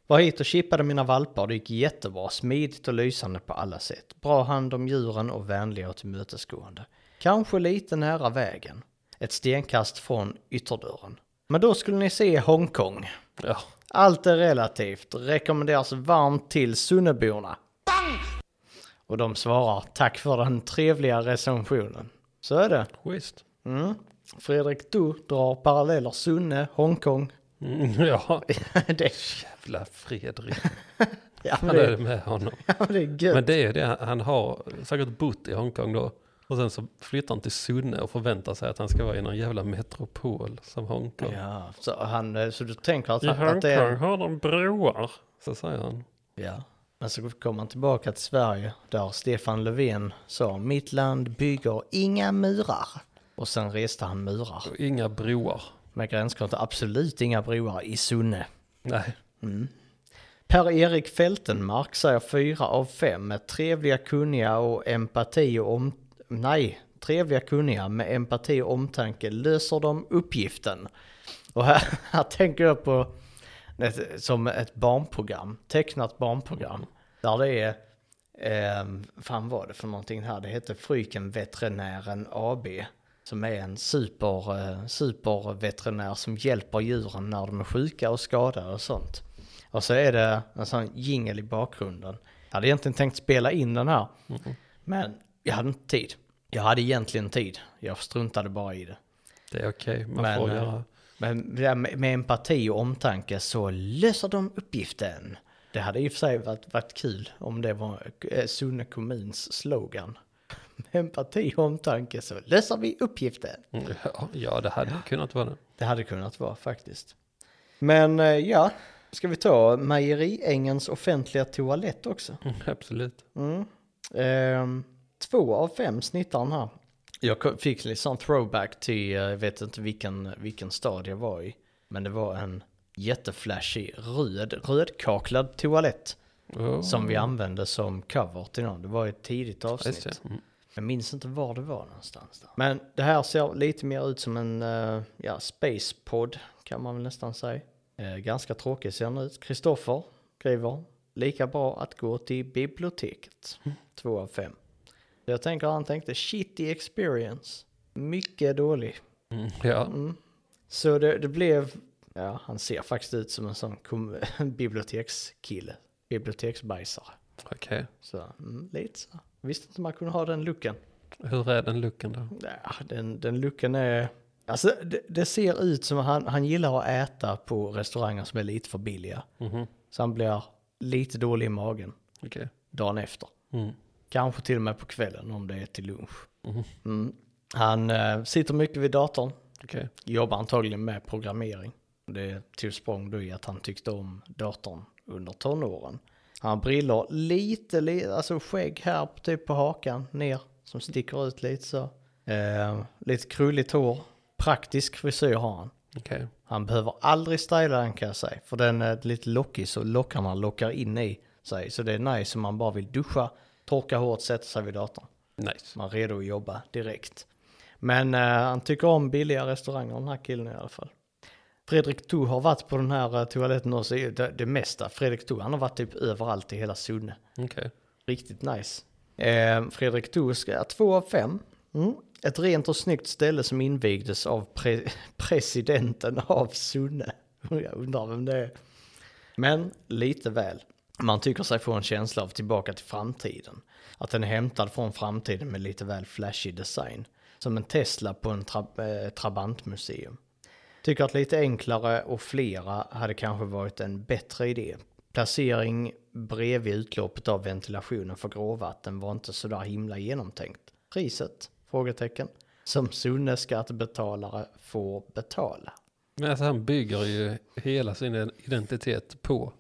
[SPEAKER 2] Var hit och chippade mina valpar, det gick jättebra, smidigt och lysande på alla sätt. Bra hand om djuren och vänliga och tillmötesgående. Kanske lite nära vägen. Ett stenkast från ytterdörren. Men då skulle ni se Hongkong.
[SPEAKER 1] Ja,
[SPEAKER 2] Allt är relativt. Rekommenderas varmt till Sunneborna. Och de svarar tack för den trevliga recensionen. Så är det.
[SPEAKER 1] visst.
[SPEAKER 2] Mm. Fredrik Du drar paralleller Sunne, Hongkong
[SPEAKER 1] Mm, ja,
[SPEAKER 2] det,
[SPEAKER 1] jävla Fredrik.
[SPEAKER 2] ja, men
[SPEAKER 1] Han är
[SPEAKER 2] det,
[SPEAKER 1] det med honom.
[SPEAKER 2] ja, men det är gött.
[SPEAKER 1] Men det är det, han har säkert bott i Hongkong då. Och sen så flyttar han till Sunne och förväntar sig att han ska vara i någon jävla metropol som Hongkong.
[SPEAKER 2] Ja, så, han, eh, så du tänker att,
[SPEAKER 1] I
[SPEAKER 2] han, att det
[SPEAKER 1] Hongkong
[SPEAKER 2] är...
[SPEAKER 1] har de broar. Så säger han.
[SPEAKER 2] Ja. Men så kommer han tillbaka till Sverige där Stefan Löfven sa mitt land bygger inga murar. Och sen reste han murar
[SPEAKER 1] Och inga broar.
[SPEAKER 2] med gränskontor. Absolut inga broar i Sunne.
[SPEAKER 1] Nej.
[SPEAKER 2] Per-Erik Fältenmark säger fyra av fem med trevliga, kunniga och empati och om... Nej, trevliga, kunniga med empati och omtanke löser de uppgiften. Och här, här tänker jag på ett, som ett barnprogram, tecknat barnprogram. Där det är, eh, fan var det för någonting här, det heter Fryken Veterinären AB. Som är en super, eh, superveterinär som hjälper djuren när de är sjuka och skadade och sånt. Och så är det en sån jingel i bakgrunden. Jag hade egentligen tänkt spela in den här. Men jag hade inte tid. Jag hade egentligen tid. Jag struntade bara i det.
[SPEAKER 1] Det är okej, man
[SPEAKER 2] Men,
[SPEAKER 1] får
[SPEAKER 2] eh,
[SPEAKER 1] göra.
[SPEAKER 2] Men det där med, med empati och omtanke så löser de uppgiften. Det hade i och för sig varit, varit kul om det var eh, Sunne kommuns slogan. Med empati och omtanke så löser vi uppgiften.
[SPEAKER 1] Mm, Ja, ja, det hade kunnat vara det.
[SPEAKER 2] Det hade kunnat vara faktiskt. Men eh, ja, ska vi ta Mejeriängens offentliga toalett också?
[SPEAKER 1] Mm, Absolut.
[SPEAKER 2] Ehm, två av fem snittar den här. Jag ko- fick lite sån throwback till, eh, jag vet inte vilken, vilken stad jag var i. Men det var en jätteflashig röd, rödkaklad toalett.
[SPEAKER 1] Oh,
[SPEAKER 2] Som vi använde som cover till någon. Det var ett tidigt
[SPEAKER 1] just
[SPEAKER 2] avsnitt.
[SPEAKER 1] det. Mm.
[SPEAKER 2] Jag minns inte var det var någonstans. Där. Men det här ser lite mer ut som en eh, ja, spacepod kan man väl nästan säga. Eh, ganska tråkig ser den ut. Kristoffer skriver lika bra att gå till biblioteket. Två av fem. Så Jag tänker han tänkte shitty experience. Mycket dålig.
[SPEAKER 1] Mm, Ja,
[SPEAKER 2] Så det, det blev, ja han ser faktiskt ut som en sån kom- bibliotekskille. Biblioteksbajsare.
[SPEAKER 1] okej.
[SPEAKER 2] Så mm, lite så. Visste inte man kunde ha den looken.
[SPEAKER 1] Hur är den looken då?
[SPEAKER 2] Ja, den, den looken är... Alltså det, det ser ut som att han, han gillar att äta på restauranger som är lite för billiga.
[SPEAKER 1] Mhm,
[SPEAKER 2] Så han blir lite dålig i magen
[SPEAKER 1] Okej.
[SPEAKER 2] dagen efter.
[SPEAKER 1] Mm.
[SPEAKER 2] Kanske till och med på kvällen om det är till lunch.
[SPEAKER 1] Mhm.
[SPEAKER 2] Mm. Han eh, sitter mycket vid datorn,
[SPEAKER 1] Okej.
[SPEAKER 2] jobbar antagligen med programmering. Det tog språng då i att han tyckte om datorn under tonåren. Han har brillor lite, lite, alltså skägg här på- typ på hakan ner som sticker ut lite så. Eh, lite krulligt hår, praktisk frisyr har han.
[SPEAKER 1] Okej.
[SPEAKER 2] Han behöver aldrig styla den kan jag säga, för den är lite lockig så lockarna lockar in i sig. Så det är nice om man bara vill duscha, torka håret, sätta sig vid datorn.
[SPEAKER 1] Nice.
[SPEAKER 2] Man är redo att jobba direkt. Men eh, han tycker om billiga restauranger den här killen i alla fall. Fredrik Tou har varit på den här eh, toaletten också, det, det mesta. Fredrik Tou, han har varit typ överallt i hela Sunne.
[SPEAKER 1] Okej.
[SPEAKER 2] Riktigt nice. Eh, Fredrik Tou ska 2 av 5. Mm. Ett rent och snyggt ställe som invigdes av pre presidenten av Sunne. Jag undrar vem det är. Men lite väl. Man tycker sig få en känsla av tillbaka till framtiden. Att den är hämtad från framtiden med lite väl flashig design. Som en Tesla på en tra eh, Trabantmuseum. Tycker att lite enklare och flera hade kanske varit en bättre idé. Placering bredvid utloppet av ventilationen för gråvatten var inte sådär himla genomtänkt. Priset? Frågetecken. Som Sunne skattebetalare får betala.
[SPEAKER 1] Men alltså han bygger ju hela sin identitet på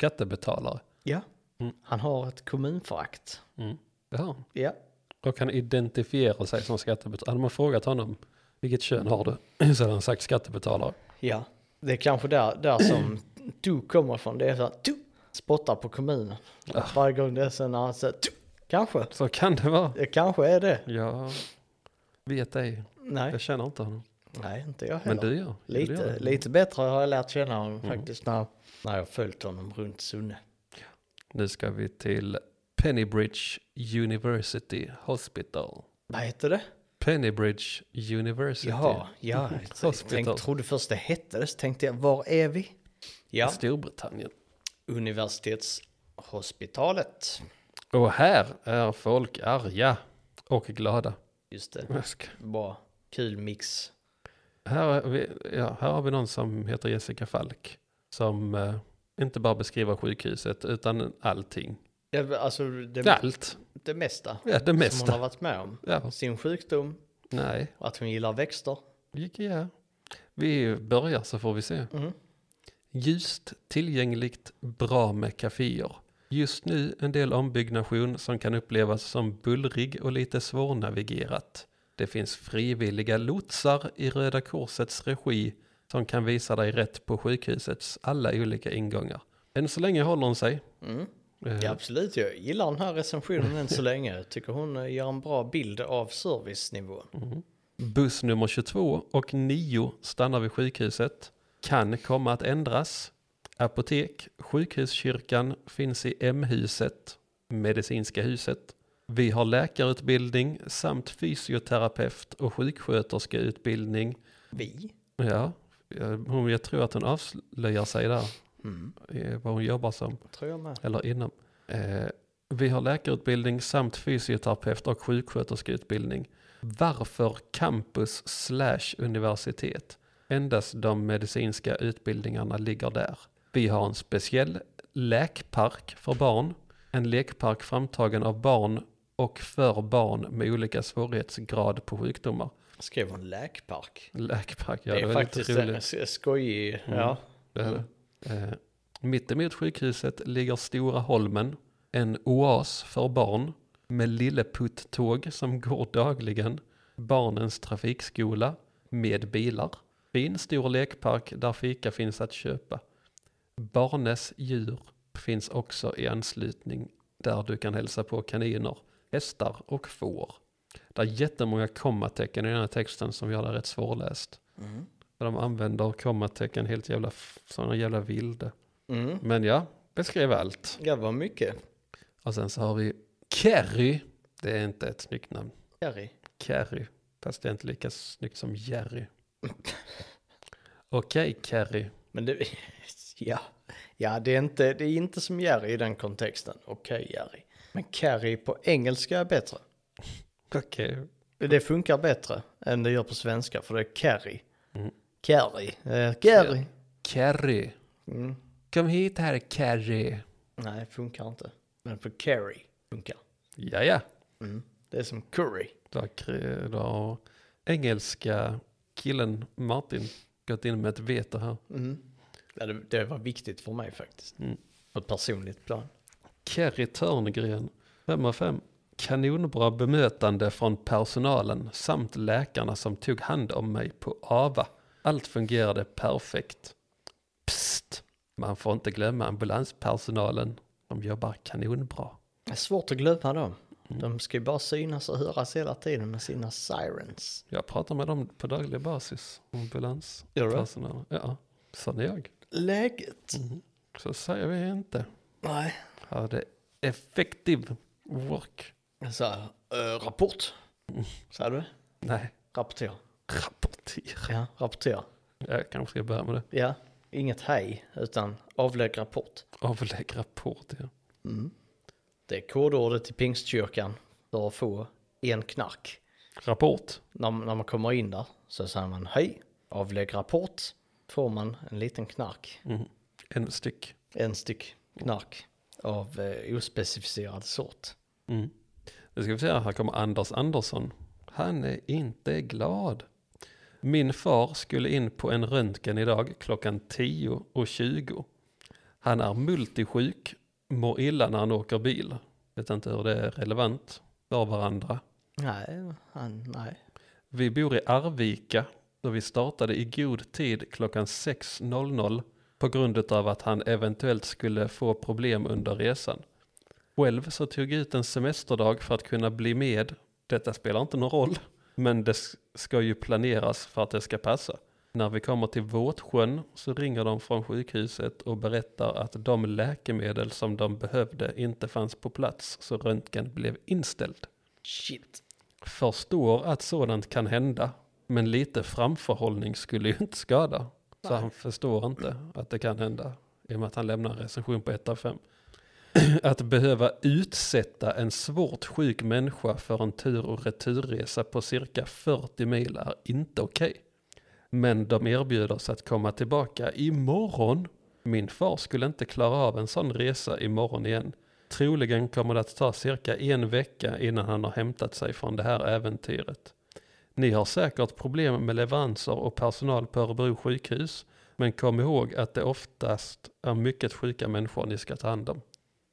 [SPEAKER 1] skattebetalare.
[SPEAKER 2] Ja.
[SPEAKER 1] Mm.
[SPEAKER 2] Han har ett kommunförakt.
[SPEAKER 1] Mm. Det har han.
[SPEAKER 2] Ja.
[SPEAKER 1] Och han identifierar sig som skattebetalare. Hade man frågat honom vilket kön har du? Så hade han sagt skattebetalare.
[SPEAKER 2] Ja. Det är kanske där, där som du kommer från. Det är så att du spottar på kommunen. Varje gång det är så när han säger du. Kanske.
[SPEAKER 1] Så kan det vara.
[SPEAKER 2] Det kanske är det.
[SPEAKER 1] Jag vet ej.
[SPEAKER 2] Nej.
[SPEAKER 1] Jag känner inte honom.
[SPEAKER 2] Nej, inte jag heller.
[SPEAKER 1] Men du gör. Du gör
[SPEAKER 2] Lite,
[SPEAKER 1] det.
[SPEAKER 2] lite bättre har jag lärt känna honom faktiskt när, när jag följt honom runt Sunne.
[SPEAKER 1] Nu ska vi till Pennybridge University Hospital.
[SPEAKER 2] Vad heter det?
[SPEAKER 1] Pennybridge University.
[SPEAKER 2] Jaha, ja. Jag
[SPEAKER 1] Hospital.
[SPEAKER 2] tänkte, trodde först det hette det, så tänkte jag, var är vi? Ja,
[SPEAKER 1] Storbritannien.
[SPEAKER 2] universitetshospitalet.
[SPEAKER 1] Och här är folk arga och glada.
[SPEAKER 2] Just det,
[SPEAKER 1] Jag ska-
[SPEAKER 2] bra. Kul mix.
[SPEAKER 1] Här, har vi, ja, här har vi någon som heter Jessica Falk. Som eh, inte bara beskriver sjukhuset utan allting.
[SPEAKER 2] Ja, alltså det,
[SPEAKER 1] Allt.
[SPEAKER 2] det mesta
[SPEAKER 1] Ja, det
[SPEAKER 2] som hon har
[SPEAKER 1] mesta.
[SPEAKER 2] varit med om.
[SPEAKER 1] Ja,
[SPEAKER 2] Sin sjukdom,
[SPEAKER 1] nej.
[SPEAKER 2] att hon gillar växter.
[SPEAKER 1] Gick- Ja. Vi börjar så får vi se.
[SPEAKER 2] Mm.
[SPEAKER 1] Ljust, tillgängligt, bra med kaféer. Just nu en del ombyggnation som kan upplevas som bullrig och lite svårnavigerat. Det finns frivilliga lotsar i Röda Korsets regi som kan visa dig rätt på sjukhusets alla olika ingångar. Än så länge håller hon sig.
[SPEAKER 2] Mm.
[SPEAKER 1] Eh,
[SPEAKER 2] Ja, absolut, jag gillar den här recensionen än så länge. Jag tycker hon eh, ger en bra bild av servicenivån.
[SPEAKER 1] Buss nummer 22 och 9 stannar vid sjukhuset. Kan komma att ändras. Apotek, sjukhuskyrkan finns i M-huset, medicinska huset. Vi har läkarutbildning samt fysioterapeut och sjuksköterskeutbildning.
[SPEAKER 2] Vi?
[SPEAKER 1] Ja, eh, hon, jag tror att hon avslöjar sig där,
[SPEAKER 2] Mm.
[SPEAKER 1] eh, vad hon jobbar som,
[SPEAKER 2] Tror jag med.
[SPEAKER 1] eller inom. Eh, vi har läkarutbildning samt fysioterapeut och sjuksköterskeutbildning. Varför campus slash universitet? Endast de medicinska utbildningarna ligger där. Vi har en speciell lekpark för barn. En lekpark framtagen av barn och för barn med olika svårighetsgrad på sjukdomar.
[SPEAKER 2] Skrev hon läkpark?
[SPEAKER 1] Lekpark, ja
[SPEAKER 2] det
[SPEAKER 1] det,
[SPEAKER 2] är
[SPEAKER 1] var
[SPEAKER 2] faktiskt
[SPEAKER 1] lite roligt. Mm.
[SPEAKER 2] en s- skojig, ja.
[SPEAKER 1] Det är det. Eh, mittemot sjukhuset ligger Stora Holmen, en oas för barn med lilleputt-tåg som går dagligen, barnens trafikskola med bilar, fin stor lekpark där fika finns att köpa. Barnes djur finns också i anslutning där du kan hälsa på kaniner, hästar och får. Det är jättemånga kommatecken i den här texten som gör det rätt svårläst. Där de använder kommatecken helt jävla, f- såna jävla vilde.
[SPEAKER 2] Mm.
[SPEAKER 1] Men ja, beskrev allt.
[SPEAKER 2] Ja, vad mycket.
[SPEAKER 1] Och sen så har vi Kerry. Det är inte ett snyggt namn.
[SPEAKER 2] Jerry.
[SPEAKER 1] Kerry. Fast det är inte lika snyggt som Jerry. Okej, Kerry.
[SPEAKER 2] Men det, ja, ja det, är inte, det är inte som Jerry i den kontexten. Okej Jerry. Men Carrie på engelska är bättre.
[SPEAKER 1] Okej.
[SPEAKER 2] Det funkar bättre än det gör på svenska för det är Carrie.
[SPEAKER 1] Mm.
[SPEAKER 2] Carrie. Eh, Carrie.
[SPEAKER 1] Kerry.
[SPEAKER 2] Mm.
[SPEAKER 1] Kom hit här, Kerry.
[SPEAKER 2] Nej, funkar inte. Men för Carrie funkar.
[SPEAKER 1] Ja, ja.
[SPEAKER 2] Mm. Det är som curry.
[SPEAKER 1] Då har kr- då har engelska killen Martin gått in med ett veto här.
[SPEAKER 2] Mm. Ja, det, det var viktigt för mig faktiskt.
[SPEAKER 1] Mm.
[SPEAKER 2] På ett personligt plan.
[SPEAKER 1] Kerry Törngren, 5 av 5. Kanonbra bemötande från personalen samt läkarna som tog hand om mig på AVA. Allt fungerade perfekt. Psst, man får inte glömma ambulanspersonalen. De jobbar kanonbra.
[SPEAKER 2] Det är svårt att glömma dem. De ska ju bara synas och höras hela tiden med sina sirens.
[SPEAKER 1] Jag pratar med dem på daglig basis,
[SPEAKER 2] Gör du det?
[SPEAKER 1] ambulanspersonalen. Ja, sån är jag.
[SPEAKER 2] Läget?
[SPEAKER 1] Så säger vi inte.
[SPEAKER 2] Nej.
[SPEAKER 1] Ja, det är effektiv work.
[SPEAKER 2] Jag sa, eh, rapport. Sa du?
[SPEAKER 1] Nej,
[SPEAKER 2] Rapportera.
[SPEAKER 1] rapportera.
[SPEAKER 2] Ja, rapportera.
[SPEAKER 1] Jag kanske ska börja med det.
[SPEAKER 2] Ja, inget hej, utan avlägg rapport.
[SPEAKER 1] Avlägg rapport, ja.
[SPEAKER 2] Det är kodordet till pingstkyrkan för att få en knark.
[SPEAKER 1] Rapport.
[SPEAKER 2] När, när man kommer in där så säger man hej, avlägg rapport. Får man en liten knark,
[SPEAKER 1] Mm. En styck.
[SPEAKER 2] en styck knark av eh, ospecificerad sort.
[SPEAKER 1] Mm. Nu ska vi se, här kommer Anders Andersson. Han är inte glad. Min far skulle in på en röntgen idag klockan 10 och 20. Han är multisjuk, mår illa när han åker bil. Vet inte hur det är relevant för varandra.
[SPEAKER 2] Nej, han, nej.
[SPEAKER 1] Vi bor i Arvika och vi startade i god tid klockan 6.00 på grund av att han eventuellt skulle få problem under resan. Själv så tog jag ut en semesterdag för att kunna bli med. Detta spelar inte någon roll, men det s- ska ju planeras för att det ska passa. När vi kommer till Våtsjön så ringer de från sjukhuset och berättar att de läkemedel som de behövde inte fanns på plats så röntgen blev inställd.
[SPEAKER 2] Shit.
[SPEAKER 1] Förstår att sådant kan hända, men lite framförhållning skulle ju inte skada. Så han förstår inte att det kan hända, i och med att han lämnar en recension på 1 av 5. Att behöva utsätta en svårt sjuk människa för en tur och returresa på cirka 40 mil är inte okej. Men de erbjuder sig att komma tillbaka imorgon. Min far skulle inte klara av en sån resa imorgon igen. Troligen kommer det att ta cirka en vecka innan han har hämtat sig från det här äventyret. Ni har säkert problem med leveranser och personal på Örebro sjukhus, men kom ihåg att det oftast är mycket sjuka människor ni ska ta hand om.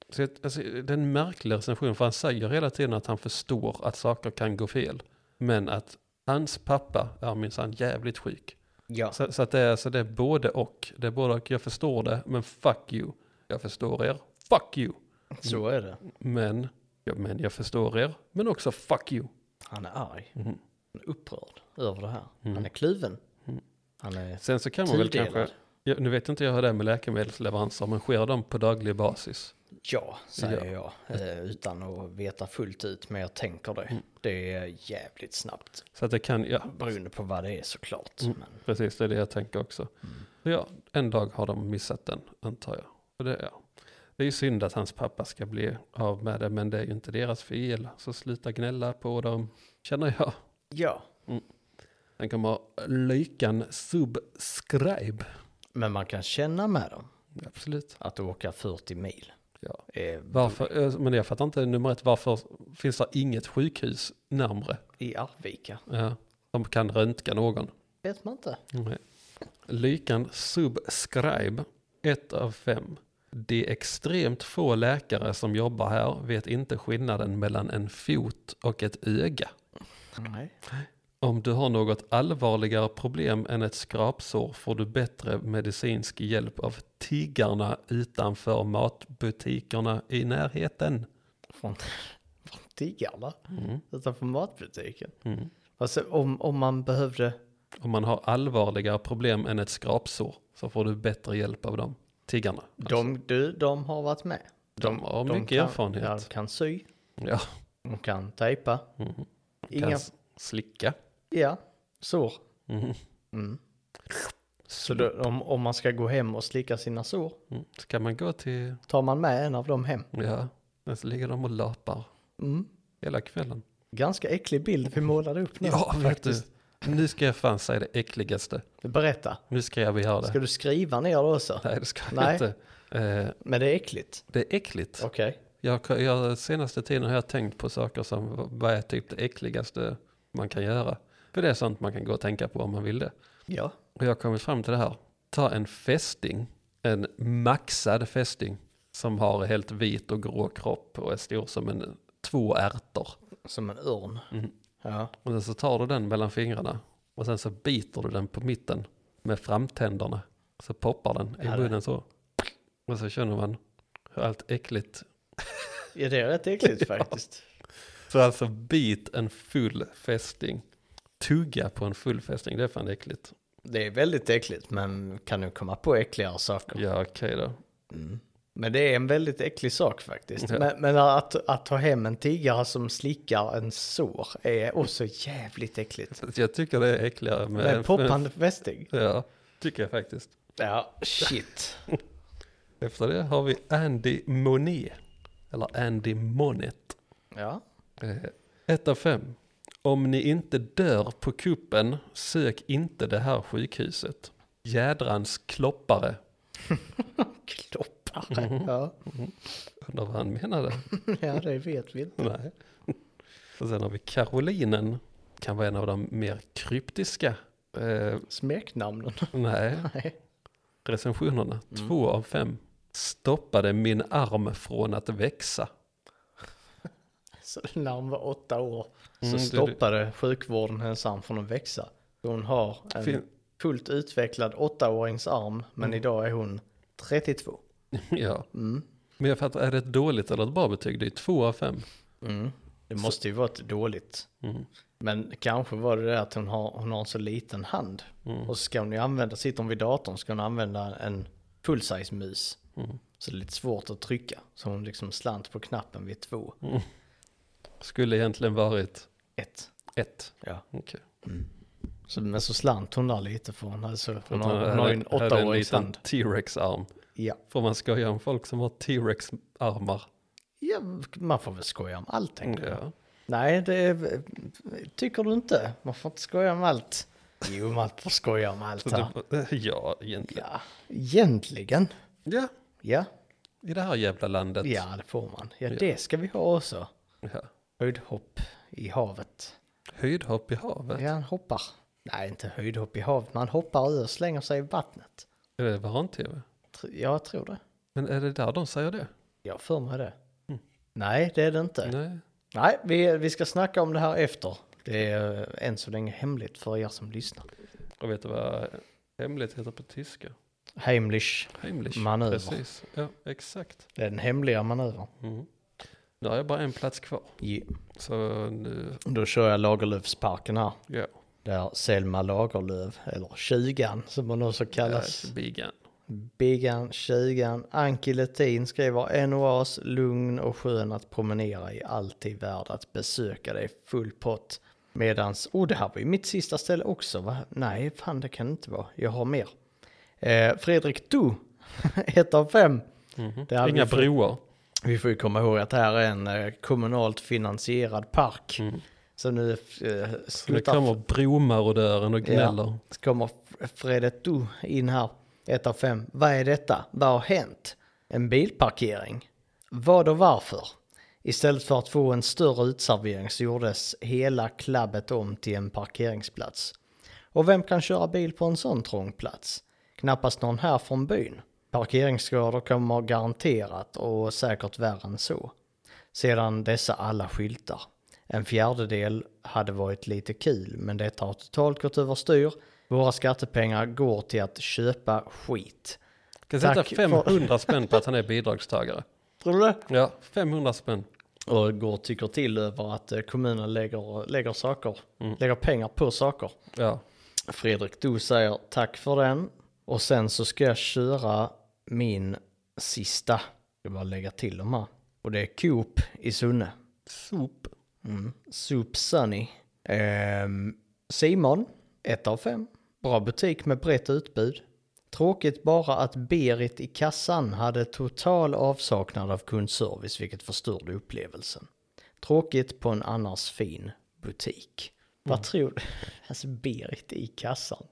[SPEAKER 1] Så, jag- alltså, det är en märklig recension, för han säger hela tiden att han förstår att saker kan gå fel, men att hans pappa är minsann jävligt sjuk.
[SPEAKER 2] Ja.
[SPEAKER 1] Så, så, att det, är, så det är både och. Det är både och. Jag förstår det, men fuck you. Jag förstår er. Fuck you.
[SPEAKER 2] Så är det.
[SPEAKER 1] Men, ja, men jag förstår er. Men också fuck you.
[SPEAKER 2] Han är arg.
[SPEAKER 1] Mhm.
[SPEAKER 2] Han är upprörd över det här.
[SPEAKER 1] Mm.
[SPEAKER 2] Han är kluven.
[SPEAKER 1] Mm.
[SPEAKER 2] Han är
[SPEAKER 1] Sen så kan man väl kanske...
[SPEAKER 2] tudelad.
[SPEAKER 1] Ja, nu vet inte jag hur det är med läkemedelsleveranser, men sker de på daglig basis?
[SPEAKER 2] Ja, säger jag. eh, Utan att veta fullt ut, men jag tänker det.
[SPEAKER 1] Mm.
[SPEAKER 2] Det är jävligt snabbt.
[SPEAKER 1] Så att det kan, ja,
[SPEAKER 2] Beroende på vad det är såklart.
[SPEAKER 1] Mm.
[SPEAKER 2] Men
[SPEAKER 1] precis det är det jag tänker också. Så ja, en dag har de missat den, antar jag. Och det, ja. det är ju synd att hans pappa ska bli av med det, men det är ju inte deras fel. Så sluta gnälla på dem, känner jag.
[SPEAKER 2] ja,
[SPEAKER 1] Den kommer Lykan Subscribe.
[SPEAKER 2] men man kan känna med dem
[SPEAKER 1] Absolut.
[SPEAKER 2] att åka 40 mil.
[SPEAKER 1] Ja.
[SPEAKER 2] eh,
[SPEAKER 1] Varför, eh, men jag fattar inte nummer ett, varför finns det inget sjukhus närmre?
[SPEAKER 2] I Arvika.
[SPEAKER 1] Ja, de kan röntga någon.
[SPEAKER 2] Vet man inte.
[SPEAKER 1] Nej. Lykan Subscribe, ett av fem. Det är extremt få läkare som jobbar här vet inte skillnaden mellan en fot och ett öga.
[SPEAKER 2] Nej.
[SPEAKER 1] Om du har något allvarligare problem än ett skrapsår får du bättre medicinsk hjälp av tiggarna utanför matbutikerna i närheten.
[SPEAKER 2] Från, från Tiggarna.
[SPEAKER 1] Mm.
[SPEAKER 2] Utanför matbutiken.
[SPEAKER 1] Mm.
[SPEAKER 2] Alltså om, om man behövde...
[SPEAKER 1] Om man har allvarligare problem än ett skrapsår så får du bättre hjälp av dem. Tiggarna.
[SPEAKER 2] De, du, de har varit med.
[SPEAKER 1] De har
[SPEAKER 2] De
[SPEAKER 1] Alltså. mycket
[SPEAKER 2] kan, Ja, de
[SPEAKER 1] erfarenhet.
[SPEAKER 2] kan sy,
[SPEAKER 1] Ja.
[SPEAKER 2] de kan tejpa.
[SPEAKER 1] Mm. Kan
[SPEAKER 2] Inga...
[SPEAKER 1] s- slicka.
[SPEAKER 2] Ja, sår.
[SPEAKER 1] Mm.
[SPEAKER 2] Mm. Så då, om, om man ska gå hem och slicka sina sår,
[SPEAKER 1] Mm. Så kan man gå till,
[SPEAKER 2] tar man med en av dem hem.
[SPEAKER 1] ja, men så ligger de och lapar
[SPEAKER 2] Mm.
[SPEAKER 1] hela kvällen.
[SPEAKER 2] Ganska äcklig bild vi målade upp nu.
[SPEAKER 1] Ja, faktiskt. Nu ska jag fan säga det äckligaste.
[SPEAKER 2] Berätta,
[SPEAKER 1] Nu ska jag begära det.
[SPEAKER 2] ska du skriva ner det också?
[SPEAKER 1] Nej, det ska jag
[SPEAKER 2] Nej.
[SPEAKER 1] inte. Eh,
[SPEAKER 2] Men det är äckligt.
[SPEAKER 1] det är äckligt.
[SPEAKER 2] Okej.
[SPEAKER 1] Jag, jag, senaste tiden har jag tänkt på saker som vad är typ det äckligaste man kan göra. För det är sånt man kan gå och tänka på om man vill det.
[SPEAKER 2] Ja.
[SPEAKER 1] Och jag har kommit fram till det här. Ta en fästing, en maxad fästing som har helt vit och grå kropp och är stor som en, två ärtor.
[SPEAKER 2] Som en örn.
[SPEAKER 1] Mm.
[SPEAKER 2] Ja.
[SPEAKER 1] Och sen så tar du den mellan fingrarna och sen så biter du den på mitten med framtänderna. Så poppar den
[SPEAKER 2] Ja,
[SPEAKER 1] i
[SPEAKER 2] det-
[SPEAKER 1] munnen så. Och så känner man hur allt äckligt
[SPEAKER 2] ja, det är rätt äckligt faktiskt.
[SPEAKER 1] Så alltså bit en full fästing. Tugga på en full fästing, det är fan äckligt.
[SPEAKER 2] Det är väldigt äckligt, men kan du komma på äckligare saker?
[SPEAKER 1] Ja, okej då.
[SPEAKER 2] Men det är en väldigt äcklig sak faktiskt.
[SPEAKER 1] Ja.
[SPEAKER 2] Men, men att, att ta hem en tiggare som slickar en sår är också jävligt äckligt.
[SPEAKER 1] Så att Jag tycker det är äckligare med...
[SPEAKER 2] Med poppande fästing.
[SPEAKER 1] Ja, tycker jag faktiskt.
[SPEAKER 2] Ja, shit.
[SPEAKER 1] Efter det har vi Andy Monet. Eller Andy Monet.
[SPEAKER 2] Ja.
[SPEAKER 1] Eh, Ett av fem. Om ni inte dör på kuppen, sök inte det här sjukhuset. Jädrans kloppare.
[SPEAKER 2] Kloppare.
[SPEAKER 1] Mhm.
[SPEAKER 2] Ja.
[SPEAKER 1] Undrar vad han menade.
[SPEAKER 2] ja, det vet vi inte.
[SPEAKER 1] Nej. Och sen har vi Karolinen. Kan vara en av de mer kryptiska. Eh,
[SPEAKER 2] Smeknamnen.
[SPEAKER 1] nej,
[SPEAKER 2] Nej.
[SPEAKER 1] recensionerna. Två av fem. Stoppade min arm från att växa.
[SPEAKER 2] Så när hon var åtta år så
[SPEAKER 1] Mm, det-
[SPEAKER 2] stoppade sjukvården hennes arm från att växa. Hon har en
[SPEAKER 1] Fin- Mm.
[SPEAKER 2] fullt utvecklad åttaårings arm, men idag är hon 32.
[SPEAKER 1] ja.
[SPEAKER 2] Mm.
[SPEAKER 1] Men jag fattar, är det ett dåligt eller ett bra betyg? Det är två av fem.
[SPEAKER 2] Mm. Det måste ju vara ett dåligt.
[SPEAKER 1] Mm.
[SPEAKER 2] Men kanske var det det att hon har, hon har en så liten hand.
[SPEAKER 1] Mm.
[SPEAKER 2] Och så ska hon ju använda, sitter hon vid datorn ska hon använda en full-size mus.
[SPEAKER 1] Mm.
[SPEAKER 2] Så det är lite svårt att trycka. Så hon liksom slant på knappen vid två.
[SPEAKER 1] Mm. Skulle egentligen varit
[SPEAKER 2] Ett.
[SPEAKER 1] ett.
[SPEAKER 2] Ja.
[SPEAKER 1] Okej.
[SPEAKER 2] Så, men så slant hon där lite för hon, hade så, hon,
[SPEAKER 1] Att
[SPEAKER 2] har,
[SPEAKER 1] han
[SPEAKER 2] hon har ju en
[SPEAKER 1] hade- hade
[SPEAKER 2] åttaårings
[SPEAKER 1] liten
[SPEAKER 2] hand.
[SPEAKER 1] T-Rex-arm.
[SPEAKER 2] Ja.
[SPEAKER 1] Får man skoja om folk som har T-Rex-armar?
[SPEAKER 2] ja, man får väl skoja om allt tänker jag.
[SPEAKER 1] Ja.
[SPEAKER 2] Nej, det är, tycker du inte. Man får inte skoja om allt. Jo, man får skoja om allt här.
[SPEAKER 1] Det- Ja, egentligen.
[SPEAKER 2] Ja, egentligen.
[SPEAKER 1] Ja,
[SPEAKER 2] Ja,
[SPEAKER 1] i det här jävla landet.
[SPEAKER 2] ja det får man. Ja, det ska vi ha också.
[SPEAKER 1] Ja.
[SPEAKER 2] Höjdhopp i havet.
[SPEAKER 1] Höjdhopp i havet.
[SPEAKER 2] Ja, han hoppar. Nej, inte höjdhopp i havet. Man hoppar ur och slänger sig i vattnet.
[SPEAKER 1] Är det barn-tv?
[SPEAKER 2] Tr- Ja, jag tror det.
[SPEAKER 1] Men är det där de säger det?
[SPEAKER 2] Jag har för mig det. Mm. Nej, det är det inte.
[SPEAKER 1] Nej.
[SPEAKER 2] Nej, vi, vi ska snacka om det här efter. Det är eh, än så länge hemligt för er som lyssnar.
[SPEAKER 1] Och vet du vad hemligt heter på tyska?
[SPEAKER 2] Heimlich.
[SPEAKER 1] Heimlich.
[SPEAKER 2] Manöver.
[SPEAKER 1] Precis. Ja, exakt.
[SPEAKER 2] Det är den hemliga manövern.
[SPEAKER 1] Mm. Nu har jag bara en plats kvar.
[SPEAKER 2] Ja.
[SPEAKER 1] Så nu,
[SPEAKER 2] Då kör jag Lagerlöfsparken här.
[SPEAKER 1] ja.
[SPEAKER 2] Där Selma Lagerlöf, eller Tjugan som hon också kallas.
[SPEAKER 1] Yes. Bigan.
[SPEAKER 2] Biggan, Tjugan, Anki Letin skriver NOAs lugn och skön att promenera i alltid värd att besöka dig full pott. Medans, oh det här var ju mitt sista ställe också va? Nej, fan det kan det inte vara. Jag har mer. Eh, Fredrik Du, ett av fem. Det här
[SPEAKER 1] Inga
[SPEAKER 2] vi, får,
[SPEAKER 1] broar.
[SPEAKER 2] vi får ju komma ihåg att det här är en eh, kommunalt finansierad park. Så nu eh,
[SPEAKER 1] Så det
[SPEAKER 2] slutar
[SPEAKER 1] kommer bromarodören och gnäller.
[SPEAKER 2] så kommer F- Fredet Du in här, ett av fem. Vad är detta? Vad har hänt? En bilparkering? Vad och varför? Istället för att få en större utservering så gjordes hela klabbet om till en parkeringsplats. Och vem kan köra bil på en sån trång plats? Knappast någon här från byn. Parkeringsskador kommer garanterat och säkert värre än så. Sedan dessa alla skyltar. En fjärdedel hade varit lite kul, men detta har totalt gått överstyr. Våra skattepengar går till att köpa skit.
[SPEAKER 1] Kan
[SPEAKER 2] Tack
[SPEAKER 1] sätta
[SPEAKER 2] för-
[SPEAKER 1] 500 spänn på att han är bidragstagare.
[SPEAKER 2] Tror du det?
[SPEAKER 1] Ja, 500 spänn.
[SPEAKER 2] Och går och tycker till över att eh, kommunen lägger, lägger saker, lägger pengar på saker.
[SPEAKER 1] Ja,
[SPEAKER 2] Fredrik Du säger tack för den. Och sen så ska jag köra min sista. Jag ska bara lägga till de här. Och det är Coop i Sunne. Mm.
[SPEAKER 1] sop.
[SPEAKER 2] Soup Sunny. Ehm, Simon, 1 av 5. Bra butik med brett utbud. Tråkigt bara att Berit i kassan hade total avsaknad av kundservice vilket förstörde upplevelsen. Tråkigt på en annars fin butik.
[SPEAKER 1] Mm.
[SPEAKER 2] Vad tror du? Alltså Berit i kassan.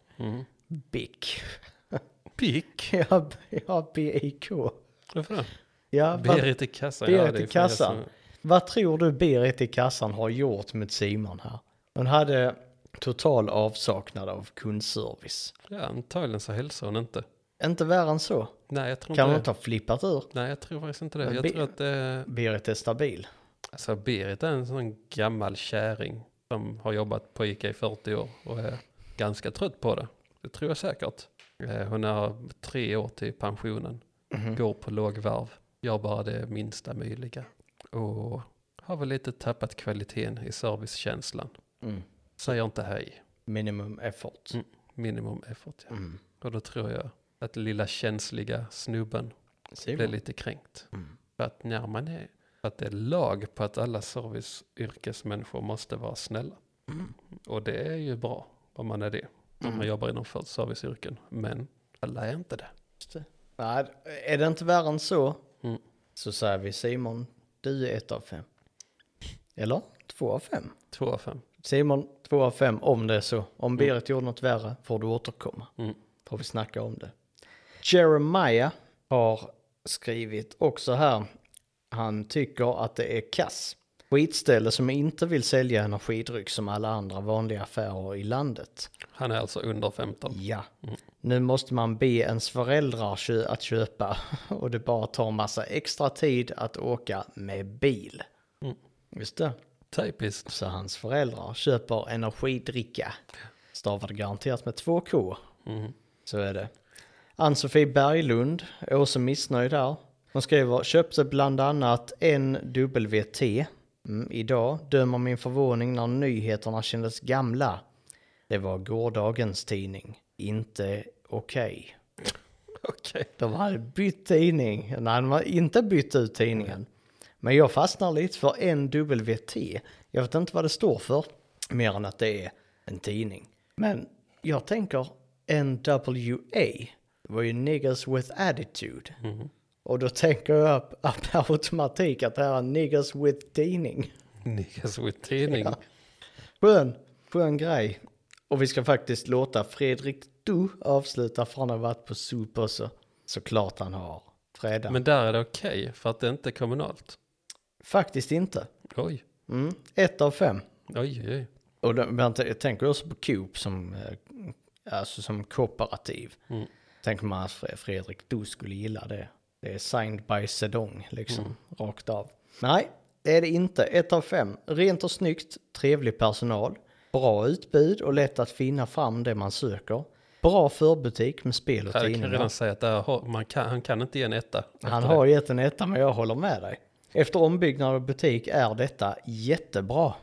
[SPEAKER 2] Bick.
[SPEAKER 1] Pick.
[SPEAKER 2] Ja, B- ja, B-I-K.
[SPEAKER 1] Varför det?
[SPEAKER 2] Ja, vad-
[SPEAKER 1] Berit i kassan. ja, det
[SPEAKER 2] Berit
[SPEAKER 1] är alltså-
[SPEAKER 2] i
[SPEAKER 1] flera
[SPEAKER 2] kassan.
[SPEAKER 1] som-
[SPEAKER 2] Vad tror du Berit i kassan har gjort med Simon här? Hon hade total avsaknad av kundservice.
[SPEAKER 1] Ja, antagligen så hälsar hon inte.
[SPEAKER 2] Inte värre än så.
[SPEAKER 1] Nej, jag tror
[SPEAKER 2] Kan hon
[SPEAKER 1] inte det.
[SPEAKER 2] inte ha flippat ur?
[SPEAKER 1] Nej, jag tror faktiskt inte det.
[SPEAKER 2] Men
[SPEAKER 1] Jag
[SPEAKER 2] Be-
[SPEAKER 1] tror att det...
[SPEAKER 2] Berit är stabil.
[SPEAKER 1] Alltså Berit är en sån gammal käring som har jobbat på Ica i 40 år och är ganska trött på det. Det tror jag säkert. Eh, Hon har tre år till pensionen, går på lågvarv, gör bara det minsta möjliga och har väl lite tappat kvaliteten i servicekänslan.
[SPEAKER 2] Mm.
[SPEAKER 1] Säger inte hej,
[SPEAKER 2] Minimum effort.
[SPEAKER 1] Mm. minimum effort. Ja.
[SPEAKER 2] Mm.
[SPEAKER 1] Och då tror jag att lilla känsliga snubben blev
[SPEAKER 2] Simon.
[SPEAKER 1] lite kränkt.
[SPEAKER 2] Mm.
[SPEAKER 1] För att när man är, för att det är lag på att alla serviceyrkesmänniskor måste vara snälla.
[SPEAKER 2] Mm.
[SPEAKER 1] Och det är ju bra om man är det. Om man jobbar inom för- serviceyrken. Men alla är inte det.
[SPEAKER 2] Nej, är det inte värre än så
[SPEAKER 1] Mm.
[SPEAKER 2] så säger vi Simon, du är ett av fem. Eller? Två av fem.
[SPEAKER 1] Två av fem.
[SPEAKER 2] Simon, två av fem om det är så. Om Berit gjorde något värre får du återkomma.
[SPEAKER 1] Mm.
[SPEAKER 2] Får vi snacka om det. Jeremiah har skrivit också här. Han tycker att det är kass. Skitställe som inte vill sälja energidryck som alla andra vanliga affärer i landet.
[SPEAKER 1] Han är alltså under 15.
[SPEAKER 2] Ja. Nu måste man be ens föräldrar kö- att köpa och det bara tar massa extra tid att åka med bil.
[SPEAKER 1] Mm.
[SPEAKER 2] Just det.
[SPEAKER 1] Typiskt.
[SPEAKER 2] Så hans föräldrar köper energidricka. Stavade garanterat med två K.
[SPEAKER 1] Mm.
[SPEAKER 2] Så är det. Ann-Sofie Berglund är också missnöjd där. Hon skriver, köpte bland annat en WT. Mm, idag dömer min förvåning när nyheterna kändes gamla. Det var gårdagens tidning. Inte okej.
[SPEAKER 1] Okej.
[SPEAKER 2] De hade bytt tidning. Nej, de hade inte bytt ut tidningen. Men jag fastnar lite för NWT. Jag vet inte vad det står för, mer än att det är en tidning. Men jag tänker NWA. Det var ju Niggas with Attitude. Och då tänker jag att per automatik att det här är Niggas with tidning.
[SPEAKER 1] Niggas with tidning.
[SPEAKER 2] Skön, skön grej. Och vi ska faktiskt låta Fredrik Du avsluta för han har varit på SOP också. Såklart han har. Fredag.
[SPEAKER 1] Men där är det okej för att det inte är kommunalt.
[SPEAKER 2] Faktiskt inte.
[SPEAKER 1] Oj,
[SPEAKER 2] Mm. Ett av fem.
[SPEAKER 1] oj, oj.
[SPEAKER 2] Och då, men jag tänker också på Coop som, eh, alltså som kooperativ.
[SPEAKER 1] Mm.
[SPEAKER 2] Tänker man att Fre- Fredrik, du skulle gilla det. Det är signed by Sedong, liksom,
[SPEAKER 1] Mm.
[SPEAKER 2] rakt av. Nej, det är det inte. Ett av fem. Rent och snyggt, trevlig personal, bra utbud och lätt att finna fram det man söker. Bra förbutik med spel och
[SPEAKER 1] Jag kan
[SPEAKER 2] tidningar.
[SPEAKER 1] redan säga att där har, man kan, han kan inte ge en etta. efter
[SPEAKER 2] Han
[SPEAKER 1] det.
[SPEAKER 2] har gett en etta, men jag håller med dig. Efter ombyggnad av butik är detta jättebra.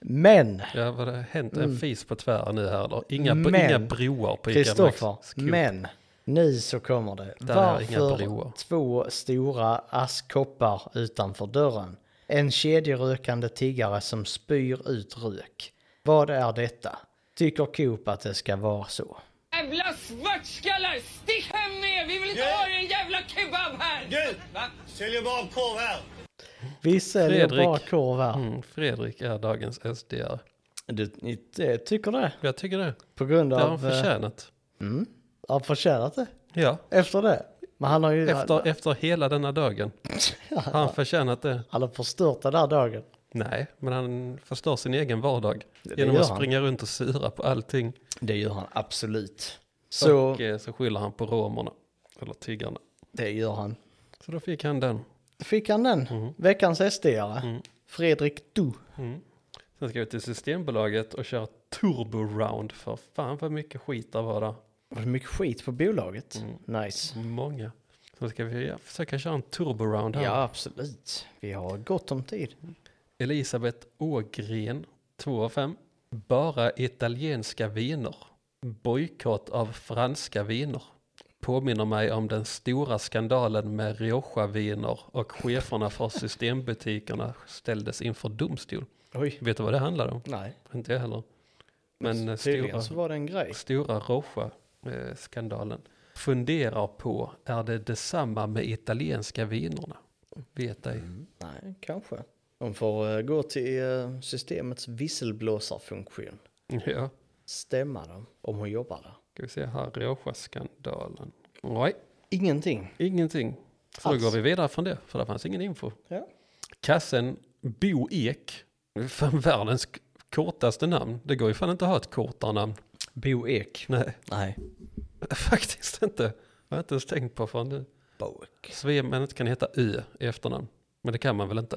[SPEAKER 2] Men
[SPEAKER 1] Ja, vad det har hänt en fis på tvären nu här då. Inga,
[SPEAKER 2] Mm. Men,
[SPEAKER 1] inga broar på Ica
[SPEAKER 2] Kristoffer,
[SPEAKER 1] Maxi. Skop.
[SPEAKER 2] men nu så kommer det.
[SPEAKER 1] Där är inga broar.
[SPEAKER 2] Varför två stora askkoppar utanför dörren? En kedjerökande tiggare som spyr ut rök. Vad är detta? Tycker Coop att det ska vara så?
[SPEAKER 3] Jävla svartskallar! Stick hem med er! Vi vill inte ha er en jävla kebab här!
[SPEAKER 4] Du!
[SPEAKER 3] Va?
[SPEAKER 4] Säljer bara korv här.
[SPEAKER 2] Vi säljer
[SPEAKER 1] Fredrik.
[SPEAKER 2] bara korv här.
[SPEAKER 1] Mm, Fredrik är dagens SDR.
[SPEAKER 2] Du eh, tycker det?
[SPEAKER 1] Jag tycker det.
[SPEAKER 2] På grund
[SPEAKER 1] Det har han
[SPEAKER 2] av... eh,
[SPEAKER 1] förtjänat.
[SPEAKER 2] Har förtjänat det?
[SPEAKER 1] Ja,
[SPEAKER 2] Efter det? Men han har ju...
[SPEAKER 1] efter, efter hela denna dagen. Har han förtjänat det?
[SPEAKER 2] Han har förstört den här dagen.
[SPEAKER 1] Nej, men han förstör sin egen vardag.
[SPEAKER 2] det
[SPEAKER 1] Genom
[SPEAKER 2] gör
[SPEAKER 1] att
[SPEAKER 2] han.
[SPEAKER 1] springa runt och sura på allting.
[SPEAKER 2] Det gör han absolut. Så
[SPEAKER 1] Och eh, så skyller han på romerna. Eller tiggarna.
[SPEAKER 2] det gör han.
[SPEAKER 1] Så då fick han den.
[SPEAKER 2] Fick han den? Veckans sd Fredrik Du.
[SPEAKER 1] Sen ska vi till Systembolaget och köra turbo round. För fan vad mycket skit där var där.
[SPEAKER 2] Var det mycket skit på bolaget? Nice.
[SPEAKER 1] Många. Sen ska vi ja, försöka köra en turbo round här.
[SPEAKER 2] Ja, absolut. Vi har gott om tid.
[SPEAKER 1] Elisabeth Ågren, 2 av 5. Bara italienska viner. Bojkott av franska viner. Påminner mig om den stora skandalen med Rioja-viner och cheferna för systembutikerna ställdes inför domstol.
[SPEAKER 2] Oj.
[SPEAKER 1] Vet du vad det handlade om?
[SPEAKER 2] Nej,
[SPEAKER 1] Inte jag heller. Men eh, stora,
[SPEAKER 2] tydligen så var det en grej.
[SPEAKER 1] stora Rioja-skandalen. Funderar på, är det detsamma med italienska vinerna? Vet ej.
[SPEAKER 2] Mm. Nej, kanske. De får eh, gå till eh, systemets visselblåsarfunktion.
[SPEAKER 1] Ja.
[SPEAKER 2] Stämma dem om hon jobbar där.
[SPEAKER 1] Ska vi se här, Rioja-skandalen. Nej,
[SPEAKER 2] Ingenting.
[SPEAKER 1] ingenting. Så då
[SPEAKER 2] Alls.
[SPEAKER 1] går vi vidare från det, för det fanns ingen info.
[SPEAKER 2] Ja.
[SPEAKER 1] Kassen Bo Ek, fan världens k- kortaste namn. Det går ju fan inte att ha ett kortare namn.
[SPEAKER 2] Bo Ek.
[SPEAKER 1] Nej,
[SPEAKER 2] Nej.
[SPEAKER 1] faktiskt inte. Jag har inte ens tänkt på förrän nu.
[SPEAKER 2] Bo Ek.
[SPEAKER 1] Svemen kan heta Ö i efternamn, men det kan man väl inte.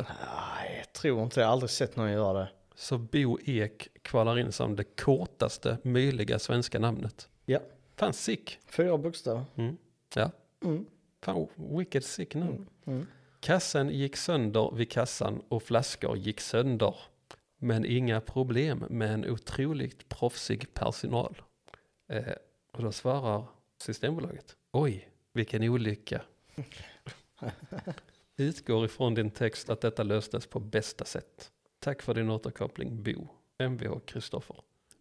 [SPEAKER 2] Nej, jag tror inte. Jag har aldrig sett någon göra det.
[SPEAKER 1] Så Bo Ek kvalar in som det kortaste möjliga svenska namnet.
[SPEAKER 2] Ja.
[SPEAKER 1] Fan sick.
[SPEAKER 2] Fyra bokstäver.
[SPEAKER 1] Mm. Ja.
[SPEAKER 2] Mm.
[SPEAKER 1] Fan, wicked sick namn. Kassen gick sönder vid kassan och flaskor gick sönder. Men inga problem med en otroligt proffsig personal. Eh, och då svarar Systembolaget. Oj, vilken olycka. Utgår ifrån din text att detta löstes på bästa sätt. Tack för din återkoppling Bo, Mvh Kristoffer.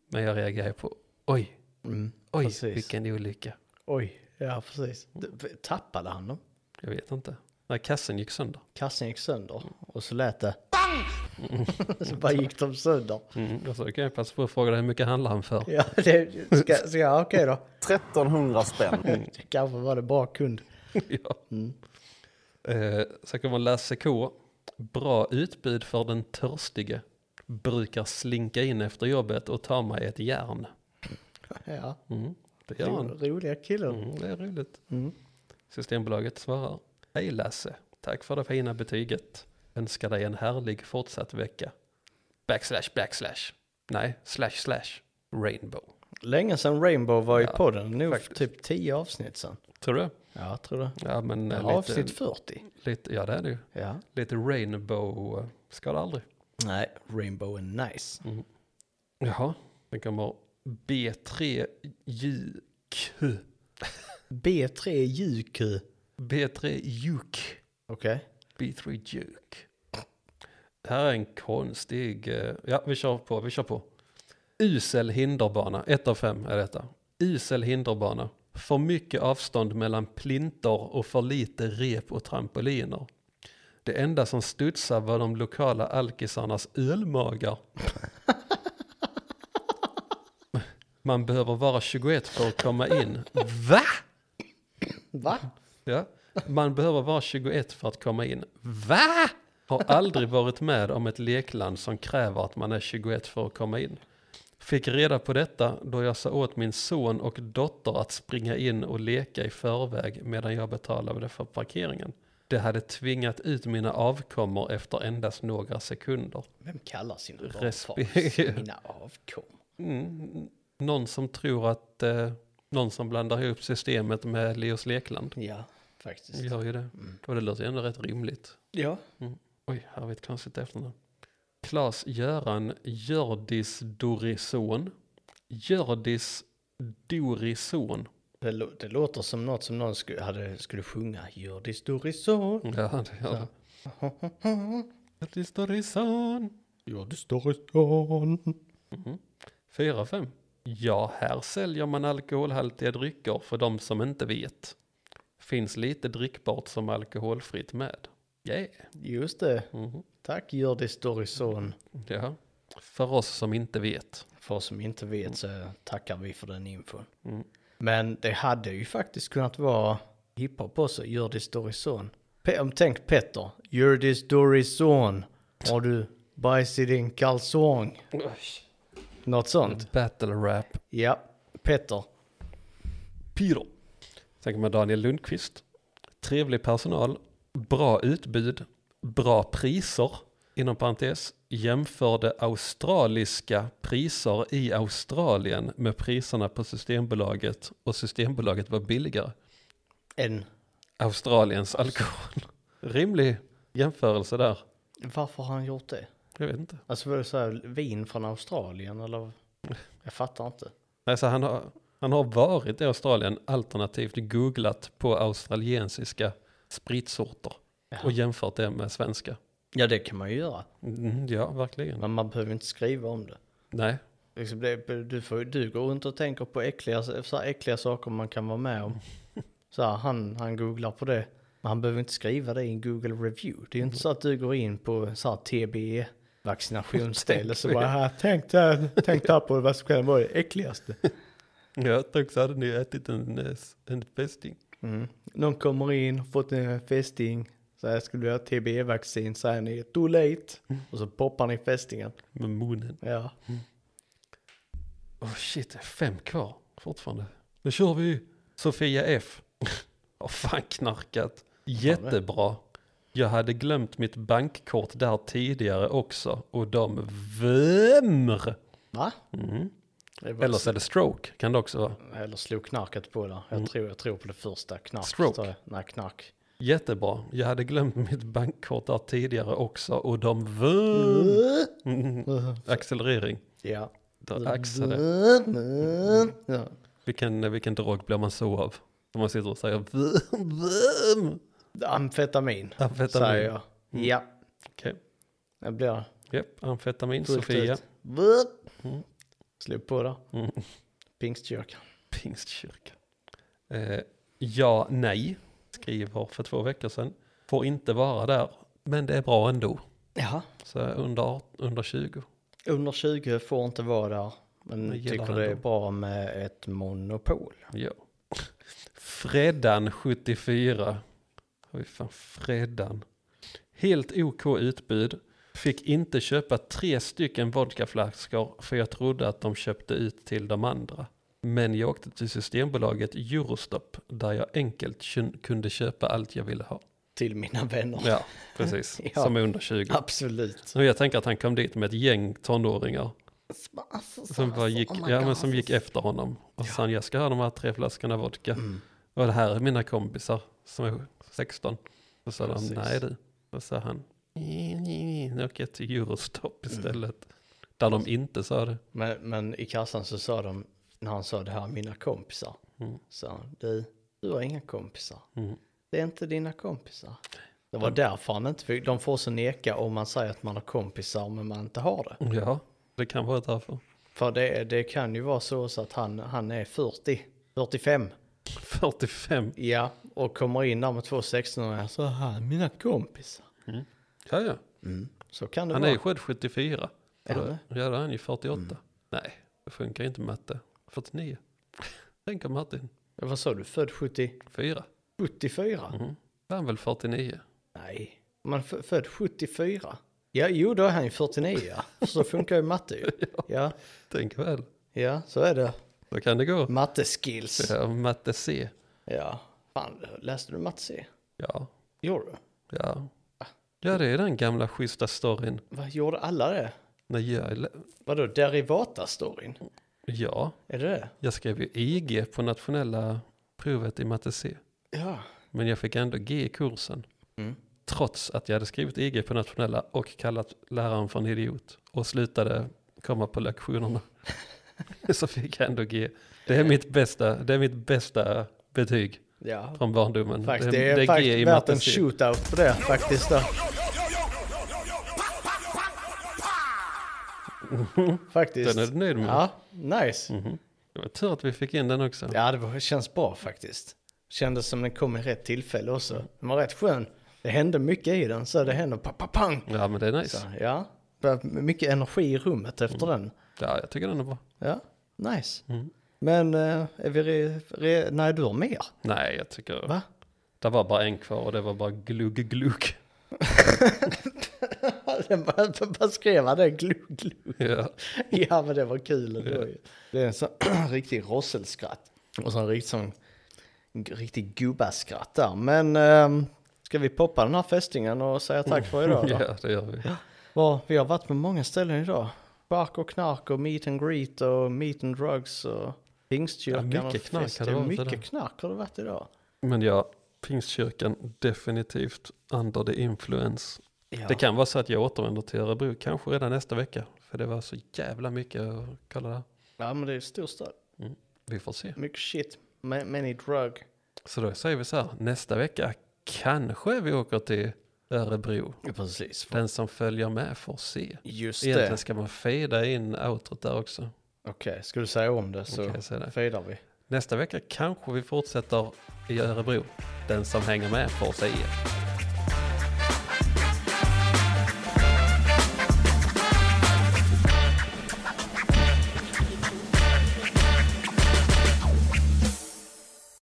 [SPEAKER 1] Men jag reagerar på oj,
[SPEAKER 2] Mm.
[SPEAKER 1] oj,
[SPEAKER 2] Precis.
[SPEAKER 1] vilken olycka.
[SPEAKER 2] Oj, ja precis. D- Tappade han dem?
[SPEAKER 1] Jag vet inte. När kassen gick sönder.
[SPEAKER 2] Kassen gick sönder och så lät det BANG! så bara gick de sönder.
[SPEAKER 1] Mm, alltså, då kan jag passa på att fråga dig hur mycket handlar han för?
[SPEAKER 2] Ja, det, ska, ska, ja okej då.
[SPEAKER 4] 1300 spänn.
[SPEAKER 1] Mm.
[SPEAKER 2] Kanske var det bra kund.
[SPEAKER 1] ja.
[SPEAKER 2] Mm.
[SPEAKER 1] Eh, sen kommer Lasse K. Bra utbud för den törstige. Brukar slinka in efter jobbet och ta mig ett järn.
[SPEAKER 2] Ja,
[SPEAKER 1] Mm, det gör han.
[SPEAKER 2] ro, roliga killen.
[SPEAKER 1] Mm, det är roligt.
[SPEAKER 2] Mm.
[SPEAKER 1] Systembolaget svarar. Hej Lasse, tack för det fina betyget. Önskar dig en härlig fortsatt vecka. Backslash, backslash. Nej, slash, slash. Rainbow.
[SPEAKER 2] Länge sedan Rainbow var i
[SPEAKER 1] Ja,
[SPEAKER 2] podden, nu
[SPEAKER 1] faktiskt.
[SPEAKER 2] typ 10 avsnitt sedan.
[SPEAKER 1] Tror du?
[SPEAKER 2] Ja, jag tror det.
[SPEAKER 1] Ja, men eh, lite,
[SPEAKER 2] Avsnitt 40.
[SPEAKER 1] lite, ja det är det ju.
[SPEAKER 2] Ja.
[SPEAKER 1] Lite rainbow eh, ska det aldrig.
[SPEAKER 2] Nej, Rainbow är nice.
[SPEAKER 1] Mm. Jaha, sen kommer B3JQ.
[SPEAKER 2] B3 JQ. Okej.
[SPEAKER 1] B3JUK. B3JUK. Det här är en konstig... eh, Ja, vi kör på, vi kör på. Usel hinderbana, 1 av 5 är detta. Usel hinderbana. För mycket avstånd mellan plinter och för lite rep och trampoliner. Det enda som studsade var de lokala alkisarnas ölmagar. Man behöver vara 21 för att komma in. Va?
[SPEAKER 2] Va?
[SPEAKER 1] Ja. Man behöver vara 21 för att komma in. Va? Har aldrig varit med om ett lekland som kräver att man är 21 för att komma in. Fick reda på detta då jag sa åt min son och dotter att springa in och leka i förväg medan jag betalade för parkeringen. Det hade tvingat ut mina avkommor efter endast några sekunder.
[SPEAKER 2] Vem kallar sina barn
[SPEAKER 1] Respekt.
[SPEAKER 2] för mina avkom?
[SPEAKER 1] Mm. Någon som tror att, eh, någon som blandar ihop systemet med Leos lekland.
[SPEAKER 2] Ja, faktiskt.
[SPEAKER 1] Gör ju det. Och det låter ju ändå rätt rimligt.
[SPEAKER 2] Ja.
[SPEAKER 1] Oj, här har vi ett konstigt efternamn. Klas Göran Gördis Dorison. Gördis Dorison.
[SPEAKER 2] Det, lå- det låter som något som någon skulle, hade, skulle sjunga. Hjördis Dorison.
[SPEAKER 1] Ja, Mm, det gör det. Gördis Dorison.
[SPEAKER 2] Hjördis Dorison.
[SPEAKER 1] Fyra fem. Ja, här säljer man alkoholhaltiga drycker för de som inte vet. Finns lite drickbart som alkoholfritt med. Yeah.
[SPEAKER 2] Just det.
[SPEAKER 1] Mhm.
[SPEAKER 2] Tack Hjördis Dorison.
[SPEAKER 1] Ja. För oss som inte vet.
[SPEAKER 2] För oss som inte vet så tackar vi för den infon.
[SPEAKER 1] Mm.
[SPEAKER 2] Men det hade ju faktiskt kunnat vara hiphop också. Hjördis Dorison. Pe- om- tänk Petter. Hjördis Dorison. Har du bajs i din kalsong? Något sånt.
[SPEAKER 1] Battle rap.
[SPEAKER 2] Ja. Petter.
[SPEAKER 1] Pyro. Tänker man Daniel Lundqvist. Trevlig personal, bra utbud, bra priser. Inom parentes, jämförde australiska priser i Australien med priserna på Systembolaget och Systembolaget var billigare.
[SPEAKER 2] En.
[SPEAKER 1] Australiens alkohol. Rimlig jämförelse där.
[SPEAKER 2] Varför har han gjort det?
[SPEAKER 1] Jag vet inte.
[SPEAKER 2] Alltså var det så här vin från Australien eller? Jag fattar inte.
[SPEAKER 1] Alltså, han, har, han har varit i Australien alternativt googlat på australiensiska spritsorter och jämfört det med svenska.
[SPEAKER 2] Ja det kan man ju göra.
[SPEAKER 1] Mm, ja, verkligen.
[SPEAKER 2] Men man behöver inte skriva om det.
[SPEAKER 1] Nej,
[SPEAKER 2] Liksom det du, får, du går runt och tänker på äckliga, så här äckliga saker man kan vara med om. Så här, han, han googlar på det. Men han behöver inte skriva det i en Google review. Det är ju inte så att du går in på så här TBE vaccinationsdelen så bara här, tänk där, tänk där på vad som kan vara det äckligaste.
[SPEAKER 1] jag tror också hade ni ätit en, eh, s- en fästing.
[SPEAKER 2] Mm. Någon kommer in, har fått en fästing. Så här skulle du ha TBE-vaccin, säger ni too late. Och så poppar ni fästingen.
[SPEAKER 1] Med munnen.
[SPEAKER 2] Ja.
[SPEAKER 1] Åh oh shit, det är fem kvar fortfarande. Nu kör vi! Sofia F. Har fan knarkat. Jättebra. Jag hade glömt mitt bankkort där tidigare också och de vömmer.
[SPEAKER 2] Va?
[SPEAKER 1] Mm.
[SPEAKER 2] Det var-
[SPEAKER 1] Eller så är det stroke, kan det också vara.
[SPEAKER 2] Eller slog knarket på där. Jag, tror, jag tror på det första. Knark.
[SPEAKER 1] Mm. Stroke.
[SPEAKER 2] sa jag. Nej, knark.
[SPEAKER 1] Jättebra. Jag hade glömt mitt bankkort där tidigare också och de vömmer. Mm. Accelerering.
[SPEAKER 2] Ja.
[SPEAKER 1] Där axade.
[SPEAKER 2] Ja.
[SPEAKER 1] Vilken, vilken drog blir man så av? Om man sitter och säger vum, vum.
[SPEAKER 2] Amfetamin,
[SPEAKER 1] Amfetamin. Mm.
[SPEAKER 2] säger jag. Ja,
[SPEAKER 1] Okej,
[SPEAKER 2] det blir
[SPEAKER 1] japp, amfetamin,
[SPEAKER 2] fullt
[SPEAKER 1] Sofia,
[SPEAKER 2] ut. Slog på där.
[SPEAKER 1] Mm.
[SPEAKER 2] Pingstkyrkan.
[SPEAKER 1] pingstkyrkan. Eh, ja, nej, skriver för två veckor sedan. Får inte vara där, men det är bra ändå.
[SPEAKER 2] Ja.
[SPEAKER 1] Så under, art- under 20.
[SPEAKER 2] Under 20 får inte vara där. Men
[SPEAKER 1] Jag gillar
[SPEAKER 2] tycker
[SPEAKER 1] det
[SPEAKER 2] det är
[SPEAKER 1] ändå.
[SPEAKER 2] bra med ett monopol.
[SPEAKER 1] Ja. Freddan 74. Oj fan, Freddan. Helt OK utbud. Fick inte köpa tre stycken vodkaflaskor för jag trodde att de köpte ut till de andra. Men jag åkte till Systembolaget Eurostop där jag enkelt kun- kunde köpa allt jag ville ha.
[SPEAKER 2] Till mina vänner.
[SPEAKER 1] Ja, precis.
[SPEAKER 2] Ja.
[SPEAKER 1] Som är under 20.
[SPEAKER 2] Absolut.
[SPEAKER 1] Så jag tänker att han kom dit med ett gäng tonåringar som, bara gick,
[SPEAKER 2] oh
[SPEAKER 1] ja, men som gick efter honom. Och sen jag ska ha de här tre flaskorna vodka. Och det här är mina kompisar som är 16. Och så sa de,
[SPEAKER 2] Precis.
[SPEAKER 1] nej du. Och så sa han, "Nej, nej, nej, nu åker jag till Eurostop istället. Där de inte sa det.
[SPEAKER 2] Men, men i kassan så sa de, när han sa det här, mina kompisar.
[SPEAKER 1] Mm.
[SPEAKER 2] Så han, du, du har inga kompisar.
[SPEAKER 1] Mm.
[SPEAKER 2] Det är inte dina kompisar. Det var därför han inte fick, de får så neka om man säger att man har kompisar men man inte har det.
[SPEAKER 1] Ja, det kan vara därför.
[SPEAKER 2] För det, det kan ju vara så, så att han, han är 40, 45.
[SPEAKER 1] 45.
[SPEAKER 2] Ja, och kommer in där med två 16-åringar. Så här, mina kompisar.
[SPEAKER 1] Ja, ja.
[SPEAKER 2] Så kan det
[SPEAKER 1] Han är
[SPEAKER 2] vara.
[SPEAKER 1] ju själv 74.
[SPEAKER 2] Är
[SPEAKER 1] Och då-
[SPEAKER 2] han
[SPEAKER 1] Ja, då är han ju 48. Nej, det funkar ju inte matte. 49. Tänk om Martin.
[SPEAKER 2] Vad sa du, född 70?
[SPEAKER 1] 4.
[SPEAKER 2] 74?
[SPEAKER 1] Mm. Han är väl 49?
[SPEAKER 2] Nej. Man är f- född 74? Ja, jo då är han ju 49 ja. Så funkar ju matte ju. Ja,
[SPEAKER 1] Tänk väl.
[SPEAKER 2] ja, så är det.
[SPEAKER 1] Då kan det gå.
[SPEAKER 2] Matteskills.
[SPEAKER 1] Ja, matte C.
[SPEAKER 2] Ja. Fan, läste du matte C?
[SPEAKER 1] Ja,
[SPEAKER 2] Gjorde du?
[SPEAKER 1] ja. Ja, det är den gamla schyssta storyn.
[SPEAKER 2] Vad gjorde alla det?
[SPEAKER 1] När jag... lä-
[SPEAKER 2] Vadå, derivata-storyn?
[SPEAKER 1] Ja,
[SPEAKER 2] Är det det?
[SPEAKER 1] jag skrev ju IG på nationella provet i matte C.
[SPEAKER 2] Ja.
[SPEAKER 1] Men jag fick ändå G i kursen.
[SPEAKER 2] Mm.
[SPEAKER 1] Trots att jag hade skrivit IG på nationella och kallat läraren för en idiot. Och slutade komma på lektionerna. Så fick jag ändå G. Det är mitt bästa, det är mitt bästa betyg
[SPEAKER 2] Ja.
[SPEAKER 1] från barndomen.
[SPEAKER 2] Faktiskt, det är, faktiskt värt en shootout på det faktiskt. Då. Faktiskt.
[SPEAKER 1] Den är du nöjd med?
[SPEAKER 2] Ja, nice.
[SPEAKER 1] Det var tur att vi fick in den också.
[SPEAKER 2] Ja, det var, känns bra faktiskt. Kändes som den kom i rätt tillfälle också. Den var rätt skön. Det hände mycket i den, så det hände pa, pa, pang.
[SPEAKER 1] Ja, men det är
[SPEAKER 2] Så,
[SPEAKER 1] nice.
[SPEAKER 2] ja, Det var mycket energi i rummet efter den.
[SPEAKER 1] Ja, jag tycker den är bra.
[SPEAKER 2] Ja, nice. Men eh, är vi re, re, nej, du har mer?
[SPEAKER 1] Nej, jag tycker...
[SPEAKER 2] Va?
[SPEAKER 1] Det var bara en kvar och det var bara glugg, glugg.
[SPEAKER 2] Den bara, den bara skrev han det, glug, glug.
[SPEAKER 1] Ja.
[SPEAKER 2] Ja, men det var kul ändå ju. Det är en sån riktig rosselskratt. Och så en riktig sån, en riktig gubbaskratt där. Men ehm, ska vi poppa den här fästingen och säga tack för idag då?
[SPEAKER 1] ja, det gör vi.
[SPEAKER 2] Var, vi har varit på många ställen idag. Bark och knark och meet and greet och meet and drugs och pingstkyrkan
[SPEAKER 1] Ja, mycket
[SPEAKER 2] och
[SPEAKER 1] knark
[SPEAKER 2] fest.
[SPEAKER 1] har det
[SPEAKER 2] Ja,
[SPEAKER 1] varit
[SPEAKER 2] Mycket
[SPEAKER 1] idag.
[SPEAKER 2] knark har det varit idag.
[SPEAKER 1] Men ja, pingstkyrkan definitivt under the influence.
[SPEAKER 2] Ja.
[SPEAKER 1] Det kan vara så att jag återvänder till Örebro, kanske redan nästa vecka. För det var så jävla mycket att kolla där.
[SPEAKER 2] ja, men det är stor stad.
[SPEAKER 1] Vi får se.
[SPEAKER 2] Mycket shit. Ma- Many drug.
[SPEAKER 1] Så då säger vi så här, nästa vecka kanske vi åker till Örebro.
[SPEAKER 2] Precis.
[SPEAKER 1] Den som följer med får se.
[SPEAKER 2] Just
[SPEAKER 1] Egentligen
[SPEAKER 2] det.
[SPEAKER 1] ska man fejda in outrot där också.
[SPEAKER 2] Okej, ska du säga om det så
[SPEAKER 1] Okej, säg det.
[SPEAKER 2] fejdar vi.
[SPEAKER 1] Nästa vecka kanske vi fortsätter i Örebro. Den som hänger med får se.